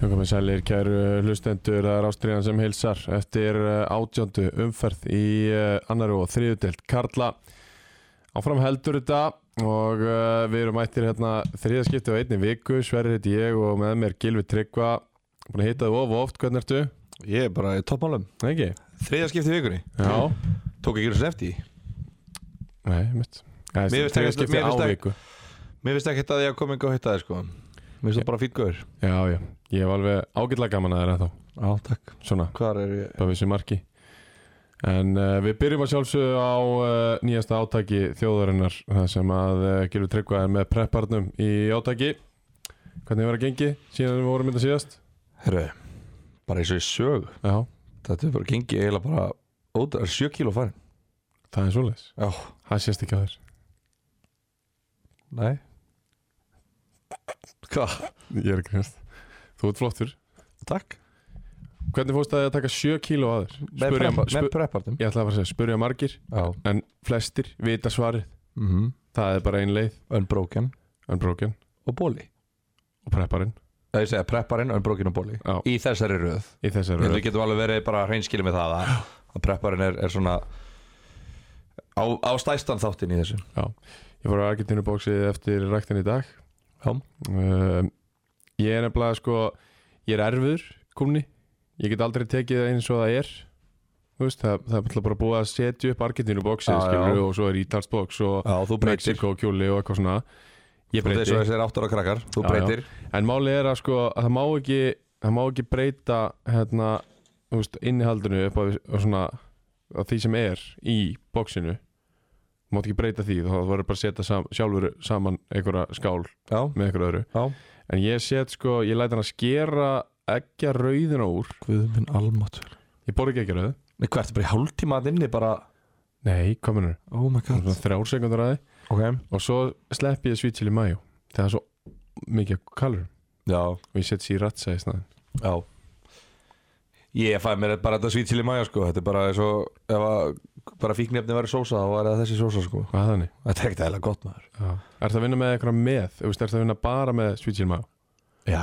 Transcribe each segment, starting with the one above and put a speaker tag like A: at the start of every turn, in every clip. A: Hjá komið sælir, kæru hlustendur, það er Ástriðan sem hilsar eftir eh, átjándu umferð í eh, annari og þriðju deild Karla. Áfram heldur þetta og eh, við erum mættir hérna þriðaskipti á einni viku, Sverrir heiti ég og með mér Gilvi Tryggva. Búin að hitta þú of og oft, hvernig ertu?
B: Ég er bara í toppmálum
A: Nei, Ekki?
B: Þriðja skipti í vikunni
A: Já.
B: Tók ekki þessu eftir því
A: Nei, mitt. Það er
B: Mér finnst ekkert-
A: þriðaskipti á
B: mér finnst ekkert-
A: viku.
B: Mér finnst ekkert að ég hafa komið enga og hitta þér sko Mér finnst það bara fýtt gaur
A: Já, já. Ég hef alveg ágætlega gaman að það er ennþá.
B: Já, takk
A: Svona.
B: Hvar er ég?
A: upp að vissu marki en uh, við byrjum að sjálfsögðu á uh, nýjasta átaki þjóðarinnar það sem að uh, Gilvi Tryggva er með prepparnum í átaki hvernig var að gengi síðan við vorum þetta síðast
B: Herru, bara eins og ég sög
A: já,
B: Þetta er bara gengið eiginlega bara Ódra, sjö kíló farin
A: það er svoleiðis
B: Já,
A: það sést ekki á þér
B: nei Hvað?
A: ég er ekki hérst þú ert flottur
B: Takk
A: hvernig fórst það að taka 7 kíló að þér
B: Með,
A: Spurja-
B: preppa- með
A: spu-
B: preppartum
A: ég ætla að fara að segja spurja margir
B: Já
A: en flestir vita svarið
B: mm -hmm.
A: það er bara ein leið
B: Unbroken
A: unbroken
B: og bóli
A: og prepparinn
B: Það ég segja prepparinn, unbroken og bóli
A: Já.
B: Í þessari röð
A: í þessari
B: Ég held
A: röð
B: við getum alveg verið bara hreinskilið með það að, að prepparinn er, er svona á, á stæstan þáttinn í þessu
A: ég fór á Argentínu bóksið eftir ræktin í dag
B: Já,
A: Um, ég er nefnilega sko ég er erfur komni ég get aldrei tekið það eins og það er Þú veist, það, það er náttúrulega bara búið að setja upp Argentínu bóksið
B: Já,
A: skilur,
B: já.
A: og svo er Ítals bóks og
B: já þú breytir
A: Mexiko kjúli og eitthvað svona ég
B: Þú veist
A: breyti,
B: þessu þessi er áttur á krakkar, þú
A: Já,
B: breytir
A: en málið er að sko að það má ekki, það má ekki breyta hérna, þú veist, innihaldinu upp á á svona, á því sem er í bóksinu þú mátt ekki breyta því, þá verður bara að setja sam, sjálfur saman einhverja skál
B: Já,
A: með einhverju öðru
B: já
A: En ég set sko, ég læt hann að skera eggja rauðina úr
B: Guðum minn almáttur
A: Ég borði ekki eggja rauð
B: Nei, hvað ertu bara í hálftíma að inni bara
A: Nei, hvað mennur?
B: Oh my god
A: Þrjár sekundur aði
B: Ok
A: Og svo slepp ég sweet chili mayo Það er svo mikið kalur
B: Já,
A: Og ég set sriracha í snæðin
B: já Ég fæ mér bara þetta svít til í maja sko Þetta er bara eins og Ef að bara fíknefni væri sósa þá væri það þessi sósa sko
A: Hvað er þannig?
B: Þetta er ekkert eðla gott maður
A: Já. Er það að vinna með eitthvað með? Þú veist, er það að vinna bara með sweet chili mayo?
B: Já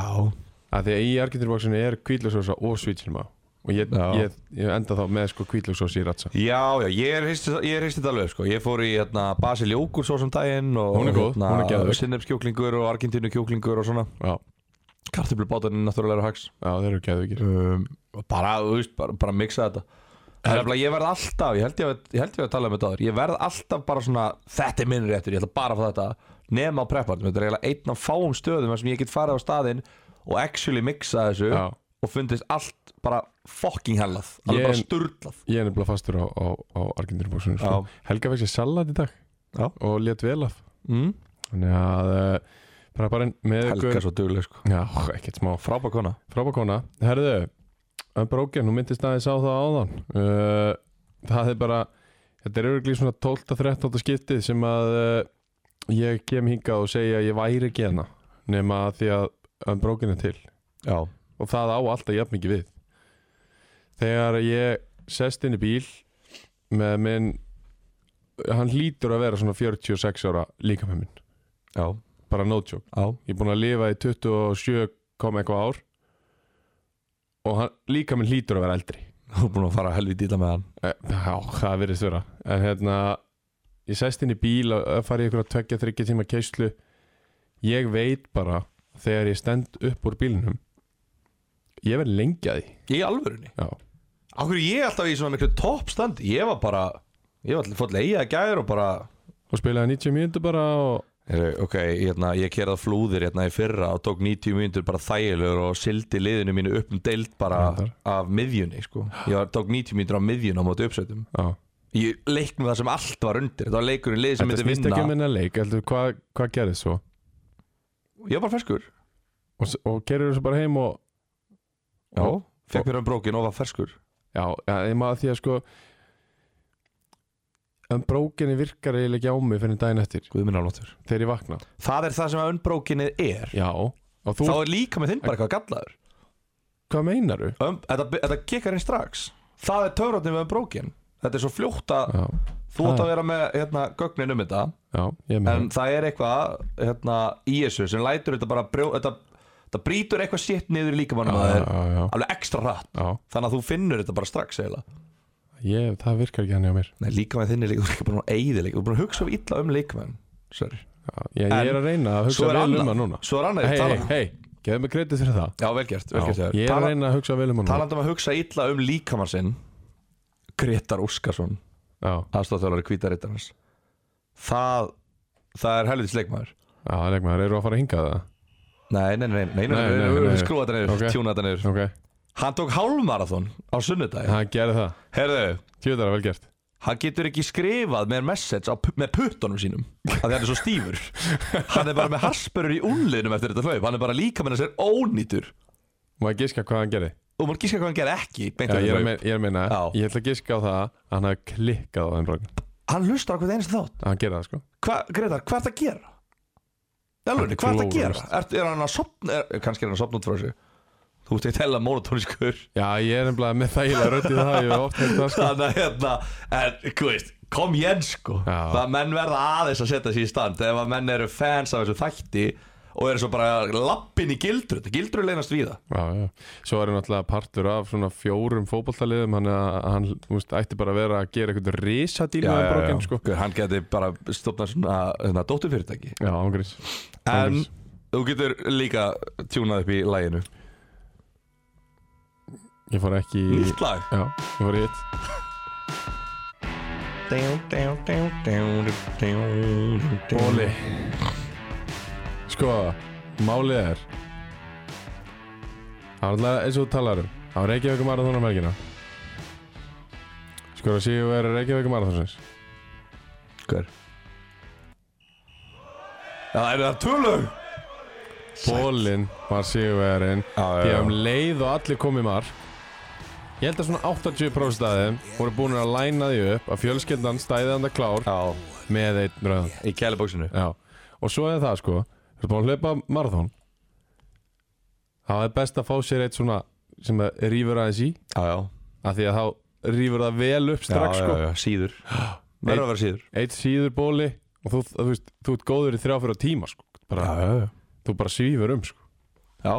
A: Af því að í argentinboksinu er kvítlöksósa og sweet chili mayo Og ég,
B: Já.
A: ég, ég enda þá með sko kvítlöksósa sriracha
B: Já, já, ég er hreist- ég er hreist þetta alveg sko. Ég fór í hérna, Basil Jókur svo sem daginn og,
A: Hún
B: hérna,
A: er góð, hún er geðveik.
B: Sinnepskjúklingur og Argentínu og svona
A: Já,
B: Kartöflubátaninn náttúrulega hags
A: já þeir eru keðvikir
B: um, og bara, þú veist, bara, bara mixa þetta Það er nefnilega, ég verð alltaf, ég held ég, að- ég held ég að tala um þetta áður Ég verð alltaf bara svona, þetta er minn réttur, ég ætla bara að fá þetta Nefn á preppartum, þetta er eiginlega einn af fáum stöðum þar sem ég get farið á staðinn og actually mixa þessu
A: Já,
B: og fundist allt bara fucking hellað Alveg
A: Ég-
B: bara sturlað
A: ég er nefnilega fastur á, á, á argentinboksinu sko.
B: Já.
A: Helga fekk sér salat í dag
B: Já.
A: og létt vel af
B: mm?
A: þannig að uh, prepparinn með
B: Helga
A: ykkur
B: svo dugleg sko
A: Já, ekkert smá
B: Frábær kona
A: frábakona Herðu, Unbroken, hún myndist aðeins á það áðan uh, Það er bara þetta er örgulega svona 12-13 skiptið sem að uh, ég kem hingað og segja að ég væri ekki hana nema að því að Unbroken er til
B: Já
A: og það á alltaf jafn mikið við þegar ég sest inn í bíl með minn hann hlýtur að vera svona 46 ára líka með minn,
B: Já,
A: bara no joke
B: já,
A: ég er búin að lifa í 27 kom eitthvað ár og hann, líka minn hlýtur að vera eldri
B: þú er búin að fara helvið dýla með hann
A: Eh, já, það verðist vera en hérna, ég sæst inn í bíl að að fara í einhverja tveggja, þryggja tíma keislu ég veit bara þegar ég stend upp úr bílinum ég verð lengi að því
B: Í alvörunni?
A: já,
B: Á hverju ég alltaf í svona miklu toppstand Ég var bara, ég var alltaf fótt leiða gæður og bara
A: og spilaði 90 mínútur bara og
B: Heru, Ok, hérna, ég kerað flúðir hérna í fyrra og tók 90 mínútur bara þægilegur og sildi liðinu mínu upp um deild bara
A: Reyndar.
B: af miðjunni sko. Ég var, tók 90 mínútur af miðjunni á móti uppsveitum
A: já.
B: Ég leiknum það sem allt var undir Þetta var leikurinn liði sem
A: þetta
B: myndi
A: snýst
B: vinna
A: ekki um hennar leik heldur, hvað hva gerðist svo
B: Ég var bara ferskur
A: og, s- og gerður þessu bara heim og
B: Já, fekk mér um brókin og var ferskur
A: Já, ja, ég maður því að sko en brókinni virkar eiginlega ekki á mig fyrir daginn eftir
B: Guð minn alváttur
A: þegar ég vakna
B: Það er það sem að unnbrókinnið er
A: Já, og þú,
B: Þá er líka með þinn bara eitthvað gallaður
A: hvað meinaru?
B: um, Þetta, þetta kikkar inn strax Það er töfratnið með unnbrókinn Þetta er svo fljótt að
A: Já,
B: þú átt að vera með hérna, gögnin um þetta
A: já, ég er með
B: En það er eitthvað hérna, í þessu sem lætur þetta bara brjó, þetta, þetta brýtur eitthvað sétt niður í líkamannum að
A: það
B: þér
A: já, já,
B: Alveg ekstra hratt
A: já,
B: Þannig að þú finnur þetta bara strax eiginlega
A: ég, það virkar ekki hann hjá mér
B: Nei, líka með þinni líka, þú er ekki bara eða líka Þú er bara að hugsa of illa um líkamenn Sorry.
A: já, ég, ég er að reyna að hugsa
B: Svo er
A: vel um
B: annað.
A: hann núna
B: Svo er annað,
A: Hei,
B: hey,
A: hei, hei, gefðu mig kredið fyrir það
B: Já, velgjert,
A: já,
B: velgjert
A: Ég er að
B: Tala,
A: reyna að hugsa vel um hann núna
B: Talandi um að hugsa illa um líkamann sinn Gretar Óskarsson
A: Já,
B: aðstofþjálfari kvítarittarnas það, það er helvitis leikmaður
A: já, leikmaður, eru að fara að hinga það?
B: Nei, nei, nei, nei, nei, nei,
A: Nei,
B: nei,
A: nei,
B: nei,
A: nei.
B: nei. skrúa þetta niður,
A: Ok.
B: tjúna þetta niður
A: Ok,
B: Hann tók hálfmarathon á sunnudagi
A: hann gerir það,
B: Herðu,
A: tjóðara vel gert
B: hann getur ekki skrifað með message á, pu- með puttunum sínum af því hann er svo stífur Hann er bara með harspörur í unlinum eftir þetta hlaup Hann er bara líka með þessir ónýtur
A: Má ég giska hvað hann gerir?
B: Og maður gíska hvað hann gerði ekki beint
A: Já,
B: eftir
A: ég er að
B: hlaup.
A: meina, ég, er að meina
B: Já.
A: ég ætla að giska á það að hann hafi klikkað á þeim brókin
B: Hann hlustar á hvað einasta þátt
A: Hann gerir það sko
B: Hva, Gretar, hvað ert að gera? Elvunni, hvað ert að gera? Er, er hann að sopna, er, kannski er hann að sopna út frá þessu Þú ert ekki hella monotóniskur
A: Já, ég er nefnilega með þægilega rödd í það, ég hef oft hefði það sko
B: Þannig að hérna, en, þú veist, kom Jens sko
A: Já.
B: Það menn verða aðeins að setja sér í stand Ef að menn eru fans af þessu þætti Og eru svo bara lappin í gildru Þetta gildru leynast við það
A: Já, já, svo er hann náttúrulega partur af svona fjórum fótballtaliðum hann, hann þú veist, ætti bara að vera að gera eitthvað risadíl með brókin sko
B: Guð, Hann geti bara stofnað svona, svona dótturfyrirtæki
A: Já, ángriðs
B: En
A: Ángriðs.
B: þú getur líka tjúnað upp í læginu
A: Ég fór ekki í
B: Nýtt lag
A: Já, ég fór í hitt
B: Bóli
A: Bóli Sko, málið er Það var alltaf eins og þú talar um Það var Reykjavík Marathon á melgina Sko, það séu verið Reykjavík Marathonsins
B: Hver? Já, það eru það tölug
A: Bólinn var sigurverðin
B: Já, já,
A: Því
B: já.
A: að um leið og allir komið mark Ég held að svona 80% af þeim voru búin að læna því upp að fjölskyldan stæði hann að klár
B: Já,
A: með einn rauðan
B: í kælibóksinu
A: Já. og svo er það sko þú ert búin að hlaupa marathón það er best að fá sér eitt svona sem að rýfur aðeins í
B: Já, já
A: af því að þá rýfur það vel upp strax
B: já,
A: sko
B: já, já, síður Verður að vera síður
A: eitt síður bóli og þú, þú, veist, þú ert góður í þrjá fyrir tíma sko. bara,
B: já,
A: þú bara svífur um sko.
B: já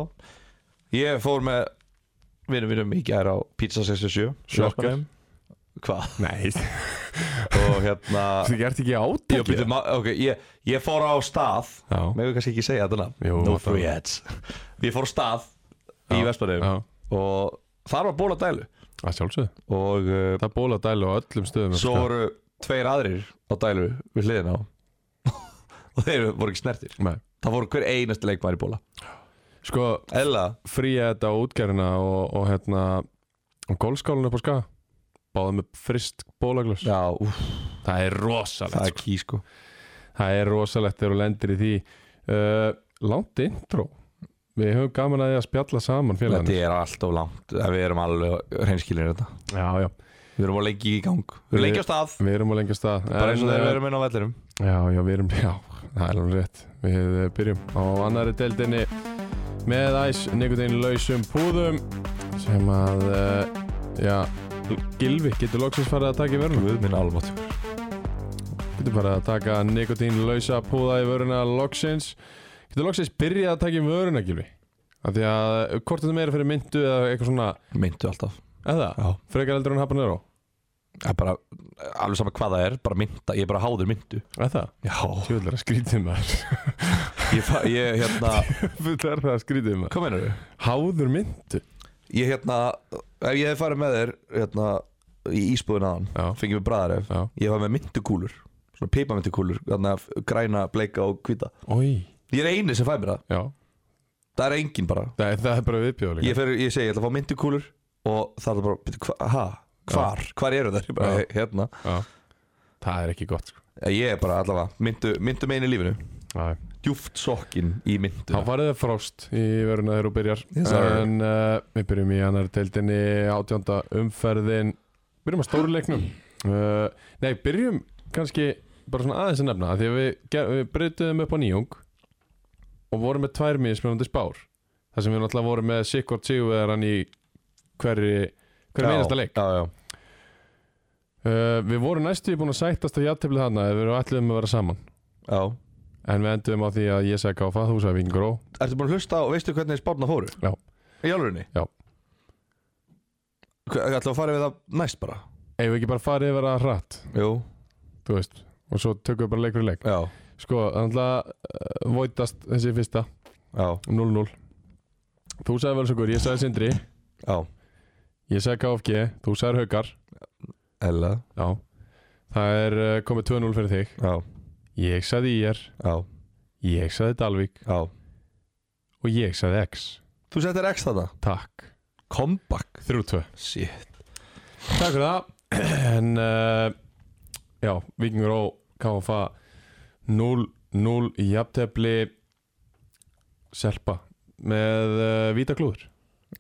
B: Ég fór með vinnum mínum í gær á Pizza 67 í
A: sjokkar
B: Vestmannaeyjum. Hvað?
A: Nei, þú
B: Og hérna
A: ert ekki
B: Ég,
A: átakið
B: býtum, ok, ég, ég fór á stað
A: Já.
B: Megum við kannski ekki segja þetta nafn?
A: Jú,
B: No
A: það-
B: free ads Ég fór á stað í
A: Já,
B: Vestmanum
A: Já,
B: Og þar var ból á dælu
A: að sjálfsögðu
B: Og uh,
A: Það er ból að dæla á öllum stöðum
B: svo
A: sko.
B: voru tveir aðrir á dælu við hliðina á Og þeir voru ekki snertir
A: Nei.
B: Það voru hver einasti leikmaður í bóla
A: Sko,
B: Eðla
A: fríja þetta á útgerðina og, og hérna og gólskálinu upp á ska Báðum með frist bólaglas
B: Já, úf,
A: Það er rosalegt
B: það
A: það
B: er ký sko
A: er, það er rosalegt þegar þú lendir í því uh, Langt intro Við höfum gaman að því að spjalla saman
B: Þetta
A: félaginu
B: er allt of langt Eh, Við erum alveg hreinskilinir þetta
A: Já, já,
B: Við erum á lengi í gang Við erum
A: Við-
B: lengi á stað
A: við erum á lengja stað
B: Bara eins og
A: En,
B: þeir
A: eh,
B: verum inn á vellinum
A: Já, já, við erum, já, það er alveg rétt Við eh, byrjum á annari deildinni með æs nekutin lausum púðum sem að, eh, já, Gilvi getur loksins farið að taka í vöruna
B: Mm. Guð minn almátt
A: getur farið að taka nekutin lausa púða í vöruna loksins getur loksins byrjað að taka í vöruna, Gilvi af því að eh, hvort þetta meira fyrir myndu eða eitthvað svona,
B: Myndu alltaf
A: eða,
B: Já.
A: frekar eldur en hapanero
B: Það er bara eh, Alveg sama hvað það er Bara mynda Ég er bara háður myndu
A: eða,
B: Já
A: tjóðlega skrítið maður
B: Ég, fa- ég hérna
A: það er það skrítið maður
B: Hvað meinar
A: háður myndu,
B: Ég hérna Ef ég hef farið með þér Hérna Í ísbúðin aðan
A: já,
B: Fengið mér bræðar ef
A: já,
B: Ég var með myndukúlur Svona pipamyndukúlur Þarna f- græna, bleika og hvita
A: oi
B: Ég er eini sem fæ mér það
A: já,
B: Það er engin bara
A: Nei, það er bara viðbjóð líka
B: ég, fer, ég segi, ég ætla að fá myndukúlur og það er bara, "Bíddu, hva, ha, hvar, hvar eru þær? Ég bara,
A: Já.
B: hérna,
A: Já. Það er ekki gott sko.
B: ég er bara allavega myndu, myndu megin í lífinu,
A: Nei.
B: djúft sokkin í myndu
A: Þá farið það frost í veruna þegar þú byrjar
B: Yes, sir.
A: En uh, við byrjum í annar deildinni átjönda umferðin Byrjum að stóru leiknum uh, Eh, Nei, byrjum kannski bara svona aðeins að nefna af Því að við, ger- við breytum upp á nýjung Og vorum með tvær mismunandi spár Það sem við náttúrulega vorum með Sikvart Sigurveðaran í hverri Hverri einasta leik
B: já, já.
A: uh, Við vorum næstu búin að sættast á játtiflið þarna Ef við ætlum að vera saman
B: já.
A: En við endum á því að ég segja gáfa Þú sagði vingur og
B: Ertu búin að hlusta á, veistu hvernig spárna fóru?
A: Já.
B: Í alvörinni?
A: Já.
B: Það ætla að fara við það næst bara
A: Eigum við ekki bara farið yfir að hratt
B: Jú,
A: Þú veist Og svo tökum við bara leik fyrir leik
B: já,
A: Sko, þannig að uh, Voitast þessi fyrsta
B: já,
A: 0-0 Þú sagði vel svo gór, ég sagði Sindri
B: já
A: Ég sagði KFG, þú sagði Haukar
B: Ella,
A: Já Það er uh, komið 2-0 fyrir þig
B: já,
A: Ég sagði IR,
B: já,
A: ég sagði Dalvik
B: já
A: Og ég sagði X
B: Þú settir X þetta?
A: Takk
B: Comeback
A: 3-2
B: Shit
A: Takk fyrir það En uh, Já, Vikingur og KFA 0-0 í jafntefli Selpa Með uh, Vítaklúður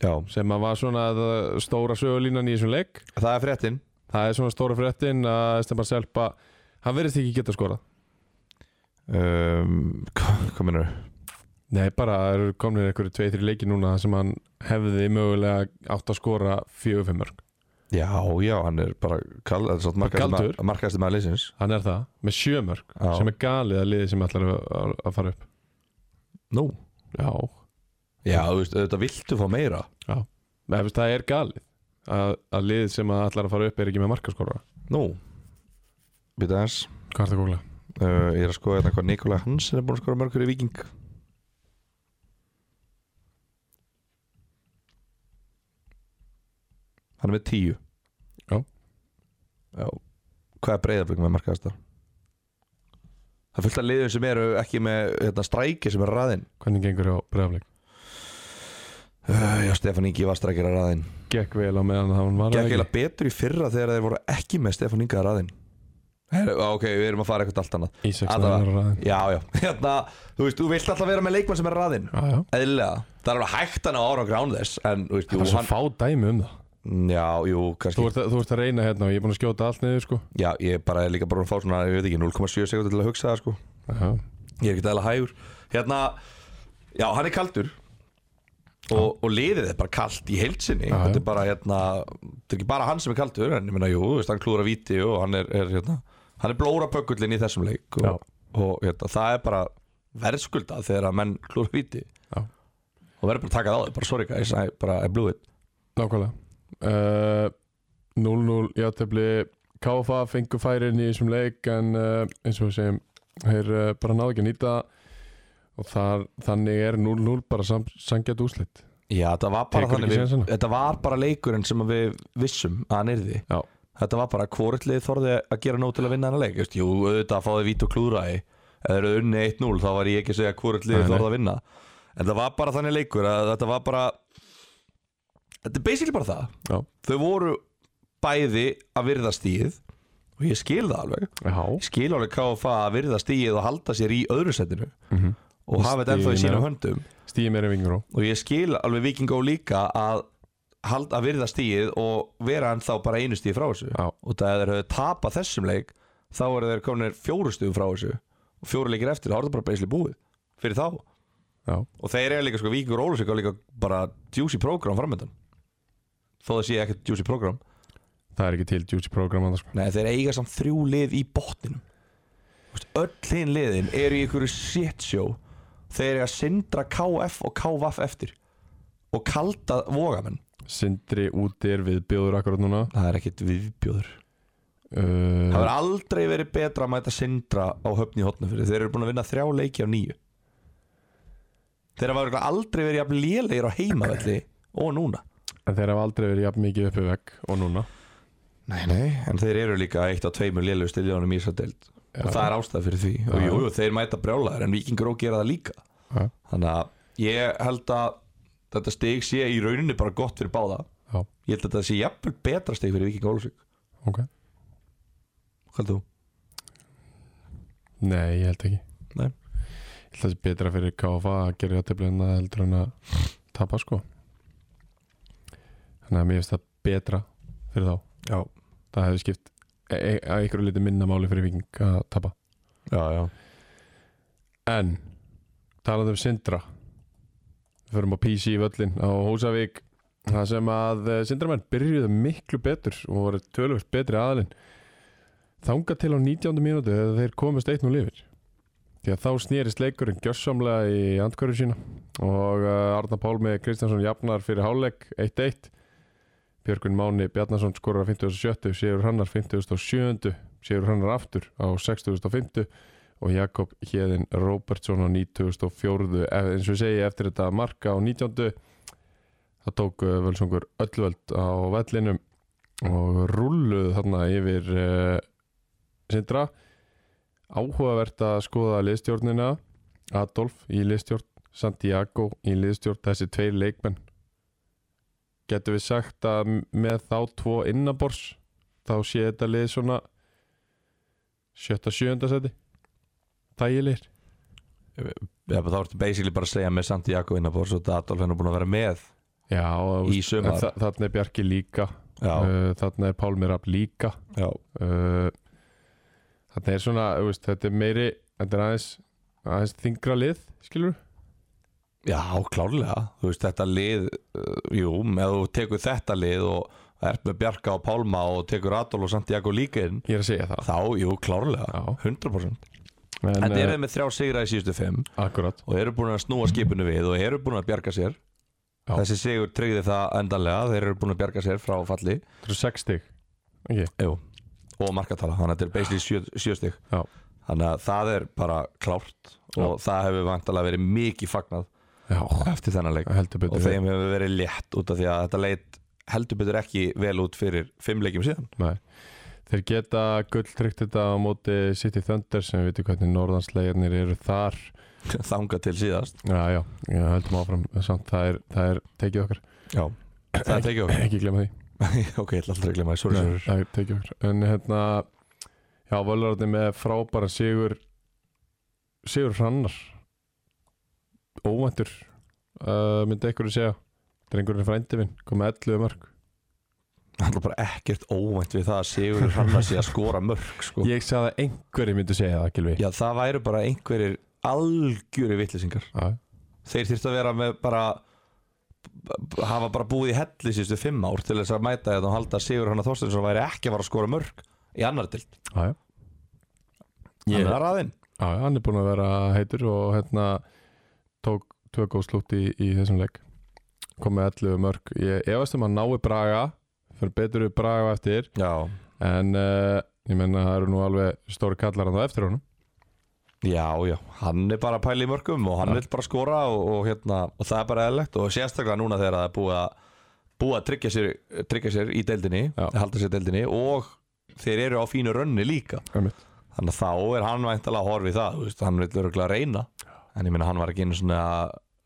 B: Já
A: Sem að var svona uh, stóra sögulínan í þessum leik
B: Það er fréttin
A: Það er svona stóra fréttin að Stefán Selpa Hann verðist ekki geta skorað
B: um, hva- Hvað minnur þau?
A: Nei, bara það eru komin einhverju tveið þrjir leiki núna sem hann hefði mögulega átt að skora fjögur fimm mörg.
B: Já, já, hann er bara kal,
A: Kaldur.
B: Markaðist maður leysins
A: Hann er það, með sjö mörg,
B: Já.
A: sem er galið að liði sem ætlar að, að- að fara upp.
B: Nú
A: Já.
B: Já, þú veist, þetta viltu fá meira
A: Nei, þú veist, það er galið að, að liðið sem að ætlar að fara upp er ekki með markaskora.
B: Nú Býta aðeins
A: Hvað er það góðlega?
B: uh, Ég er að skoða hérna hvað Nikolai Hansen er búin að skora mörgur í Viking Hann er með tíu
A: Já.
B: Já Hvað er breyðaflik með markaðast það? Það er fullt af liðum sem eru ekki með hérna, stræki sem eru raðinn
A: Hvernig gengur á breyðafleik?
B: uh, Já, Stefán Ingi var strækir að raðinn
A: Gekk vel á meðan hann var
B: Gekk eiginlega betur í fyrra þegar þeir voru ekki með Stefán Inga að raðinn Heru, Ok, við erum að fara eitthvað allt annað
A: Í 16
B: Alla-
A: ára ræðin.
B: Já, já, hérna, þú veist, þú vilt alltaf vera með leikmann sem er raðinn
A: Já, já.
B: Eðlilega, það er alveg hægt hann á ára grán þess En, þú veist,
A: Það
B: jú,
A: er svo
B: hann
A: fá dæmi um það.
B: Já, jú, kannski
A: Þú ert, að- þú ert að reyna hérna og ég er búin að skjóta allt niður, sko.
B: Já, ég er bara líka bara að fá svona, ég veit ekki, 0,7 sekundi til að hugsa það, sko
A: Já.
B: Ég er ekki eðla hægur Hérna, já, hann er kaldur Og, og liðið er bara kalt í heilsinni
A: Já, já.
B: Þetta er bara, hérna, þetta er ekki bara hann sem er kaldur En ég meina, jú, þú veist, hann klúra víti Og hann er, er hérna, hann er blóra pökullin í þessum leik
A: Já.
B: Og, og hérna, það er bara verðskuldað þegar að menn klúra víti
A: Já.
B: Og verður bara að taka það á þig, bara sorry guys, I, bara, I blew it
A: Nákvæmlega Eh, 0-0 uh, játefli KFA fengu færin í þessum leik en uh, eins og við segjum þeir uh, bara náðu ekki að nýta það og þar, þannig er 0-0 bara sam, sangjætt úslitt
B: Já, þetta var bara
A: Tekur
B: þannig
A: ekki
B: við,
A: sénsana.
B: Þetta var bara leikurinn sem að við vissum að hann yrði
A: Já.
B: Þetta var bara hvortlið þorði að gera nóg til að vinna hann leik Just, Jú, auðvitað að fá þið vít og klúra í Eða eru unni 1-0 þá var ég ekki að segja hvortlið
A: Nei, nei.
B: þorði að vinna En það var bara þannig leikur að þetta var bara Þetta er basically bara það
A: Já,
B: Þau voru bæði að virða stíð Og ég skil það alveg
A: já.
B: Ég skil alveg KFA að virða stíð og halda sér í öðru setinu
A: Mm -hmm.
B: Og hafa þetta ennþá í
A: Stigin er-
B: sínum höndum
A: stíði meira vingur á
B: og ég skil alveg vikingó líka að halda að virða stíð og vera hann þá bara einu stíð frá þessu
A: Já.
B: og það er að tapa þessum leik þá eru þeir kominir fjóru stíð frá þessu og fjóru leikir eftir, þá er það bara beisli búið fyrir þá og
A: Já,
B: þeir eru líka sko vikingur Ólusik og líka bara juicy program framöndan þó það sé ekkert juicy program
A: það er ekki til juicy program annars sko.
B: Nei, þeir eiga samt þrjú lið í botninum Þú veist, Öll hinn liðin eru í einhverju shit show Þeir eiga sindra KF og KVF eftir Og kalda vogamenn
A: Sindri úti er viðbjóður akkurat núna
B: Það er ekkit viðbjóður
A: uh,
B: Það hefur aldrei verið betra að mæta sindra á höfni í hotnafyrir Þeir eru búin að vinna þrjá leiki af nýju Þeir hafa örugglega aldrei verið jafn lélegir á heimavelli og núna
A: En þeir hafa aldrei verið jafn mikið uppi vekk og núna
B: Nei, nei En þeir eru líka eitt af tveimur lélegur stiljónum í þessar deild
A: Já.
B: Og það er ástæð fyrir því Og
A: Já.
B: jú, jú, þeir mæta brjálæður en vikingur og gera það líka
A: Já.
B: Þannig að ég held að þetta stig sé í rauninni bara gott fyrir báða
A: Já,
B: Ég held að þetta sé jafnvel betra stig fyrir vikingur og Ólusvík
A: ok
B: Hvað heldur þú?
A: Nei, ég held ekki
B: Nei.
A: Ég held að það sé betra fyrir KFA að gera játefli en að heldur en að tapa sko Þannig að mér finnst það betra fyrir þá
B: Já
A: Það hefði skipt e- e- að ykkur liti minna máli fyrir viking að tapa
B: já, já.
A: En talandi um Sindra Við förum á PC í völlin á Húsavík Það sem að eh, Sindramenn byrjuðu miklu betur og voru tölvöld betri aðalinn Þanga til á 19. mínútu þegar þeir komist eitt nú lifir Því að þá snýrist leikurinn gjössamlega í andkörðu sína og eh, Arna Pálmi Kristjánsson jafnar fyrir hálfleik 1-1 Björgun Máni Bjarnason skorar á 57. Sigur Hannar 57. Sigur Hannar aftur á 6050 og Jakob Hjeðin Róbertsson á 2004 Ef- eins og ég segi eftir þetta marka á 19. það tók uh, völsungur öllvöld á vellinum og rulluð þarna yfir uh, sindra áhugavert að skoða liðstjórnina Adolf í liðstjórn Santiago í liðstjórn þessi tveir leikmenn getum við sagt að m- með þá tvo innabors þá sé þetta lið svona sjötta sjöunda seti þægilegir
B: Já, bara þá ertu basically bara að segja með Santiago innabors og Adolf hennar búin að vera með
A: Já,
B: í sumar
A: þa þarna er Bjarki líka
B: já,
A: uh, þarna er Pálmi Rapp líka
B: já,
A: uh, þarna er svona þú veist, þetta er meiri, þetta er aðeins aðeins þingra lið, skilur
B: já, klárlega þú veist þetta lið, uh, jú með þú tekur þetta lið og ert með Bjarka og Pálma og tekur Adolf og Santiago líka inn,
A: ég er að segja það
B: þá, jú, klárlega 100%
A: en, eh,
B: En
A: en
B: þeir eru með þrjá sigra í síðustu fimm
A: akkurat
B: og eru búin að snúa skipinu við og eru búin að bjarga sér
A: Já.
B: þessi sigur tryggði það endanlega þeir eru búin að bjarga sér frá falli
A: þetta eru sex stig okay.
B: Jú. og markatala, þannig að þetta er basically sjö, sjö stig
A: Já.
B: þannig að það er bara klárt og það hefur vantalega verið mikið fagnað
A: Já,
B: eftir þennan leik
A: heldur
B: og
A: betur
B: þeim hefur verið létt út af því að þetta leit heldur betur ekki vel út fyrir fimm leikjum síðan
A: Nei. Þeir geta gulltrykt þetta á móti City Thunder sem við veitum hvernig norðanslegarnir eru þar
B: þanga til síðast
A: Já, já, já heldum áfram samt, það er, það er tekið okkar
B: Já. það tekið okkur
A: ekki glemma því
B: ok, ég ætla aldrei að glemma því, sorry,
A: Nei,
B: sorry.
A: það er tekið okkur En hérna Já, Völararni með frábæra sigur Sigur hrannar Óvæntur uh, Myndi einhverju segja Drengurinn er frændi minn, kom með 11 mörg
B: Það er bara ekkert óvænt við það að Sigur Hanna sé að skora mörg sko.
A: Ég sagði að einhverju myndi segja það, Gilvi
B: Já, það væru bara einhverjir algjöri vittlisingar
A: Já,
B: Þeir þyrftu að vera með bara b- b- hafa bara búið í helli síðustu fimm ár til þess að mæta þetta og halda að Sigur Hanna Þorsteinsson væri ekki að fara að skora mörg í annar dild
A: já, já
B: Hann
A: Ég-
B: er að raðinn
A: Já, já, hann er búinn að vera heitur og hérna tók tvö góð slútt í, í þessum leik kom með 11 mörg ég efast um að nái Braga fyrir betur við Braga á eftir
B: Já,
A: en uh, ég menna það eru nú alveg stóri kallar hann á eftir honum
B: já, já, hann er bara að pæla í mörgum og hann
A: Já.
B: vil bara skora og, og, hérna, og það er bara eðlegt og sérstaklega núna þegar það er búið að búið að tryggja sér, tryggja sér í deildinni
A: Já.
B: halda sér í deildinni og þeir eru á fínu rönni líka
A: Einmitt.
B: þannig að þá er hann væntalega að horfa í það þú veist, hann vil öruglega reyna en ég minna hann var ekki einu svona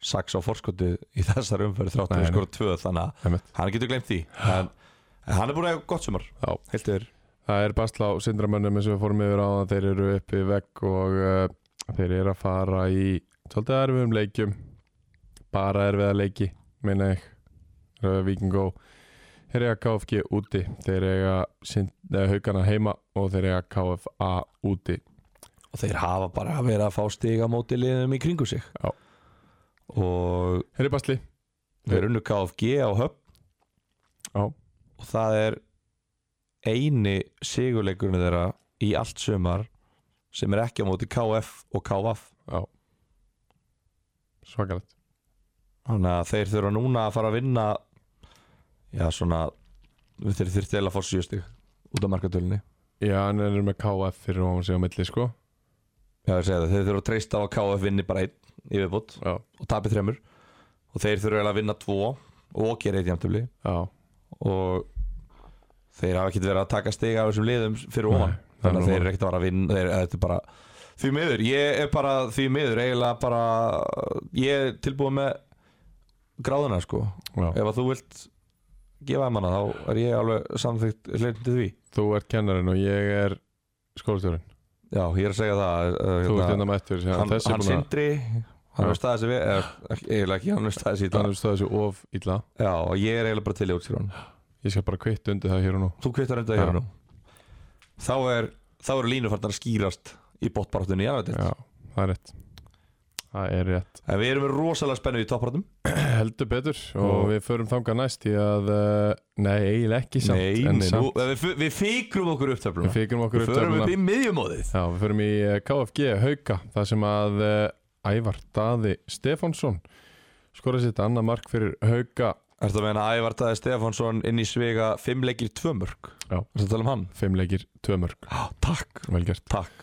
B: saks á forskottu í þessar umferð þrátt
A: Nei,
B: að
A: nei.
B: skora tvö þannig
A: Einmitt.
B: að hann getur glemt því en, en hann er búin að hafa gott sumar
A: Já.
B: heilt yfir
A: það er basla á syndramönnum eins og við fórum yfir á það þeir eru uppi í vegg og uh, þeir eru að fara í svolítið erfiðum leikjum bara erfiða leiki minna ég uh, Víkingó þeir eiga KFG úti þeir eiga sind, eh, haugana heima og þeir eiga KFA úti
B: og þeir hafa bara verið að fá stiga móti liðum í kringu sig
A: Já.
B: og
A: þeir eru basli
B: þeir unnu KFG á höfn
A: Já.
B: og það er eini sigurleikurinn þeirra í allt sumar sem er ekki á móti KF og KVF
A: svakalegt
B: Þannig að þeir þurfa núna að fara að vinna Já svona Þeir þurfti eða að fá sjöstig Út af markatölunni
A: já en þeir eru með KF fyrir ofan sig á milli sko
B: Já ég segi það, þeir þurfa að treysta á að KF vinni bara einn í viðbútt
A: já,
B: og tapi þremur Og þeir þurfa eiginlega að vinna tvo Og gera eitt jæmtöfli
A: já.
B: Og þeir hafa ekkert verið að taka stig af þessum liðum fyrir ofan
A: Nei, það er
B: Þannig að
A: nú-
B: þeir eru ekkert að fara að vinna Þeir þetta er bara Því miður, ég er bara því miður eiginlega bara Ég er tilbúið með gráðuna sko
A: já.
B: ef að þú vilt gefa þeim hana þá er ég alveg samþygt hlutandi því
A: þú ert kennarinn og ég er skólastjórinn
B: já, ég er að segja það uh,
A: þú ert hérna mættur já,
B: hann,
A: þessi er
B: hann
A: búinn að-
B: sindri hann
A: Já.
B: er staðið sér við eða, ekki- eiginlega ekki, hann er staðið sér í
A: hann
B: dag
A: hefur stöðu um þessu of illa
B: um. já, og ég er eiginlega bara til í útskýrun
A: ég skal bara kvitt undir það hér og nú
B: þú kvittar undir
A: Já.
B: það hérna nú þá er þá eru línufarnar að skýrast í bóttbaráttunni í annar
A: Já, það er rétt Það er rétt
B: en við erum með rosalega spennu í toppbaráttum
A: Heldur betur og við förum þangað næst Því að, eh, nei, eiginlega ekki samt
B: nei,
A: en
B: nei, nú,
A: samt,
B: við, fi- við fikrum okkur upp töfluna
A: Við fikrum okkur
B: við
A: upp
B: förum
A: töfluna.
B: upp í miðjumóðið
A: Já, við förum í eh, KFG Hauka Það sem að eh, Ævar Daði Stefánsson skora sitt annað mark fyrir Hauka
B: Ertu að meina að Ævar Dæði Stefánsson inn í svega fimm leikir tvö mörg
A: Já.
B: Ertu að tala um hann?
A: Fimm leikir, tvö mörg
B: Já, takk
A: Vel gert,
B: Takk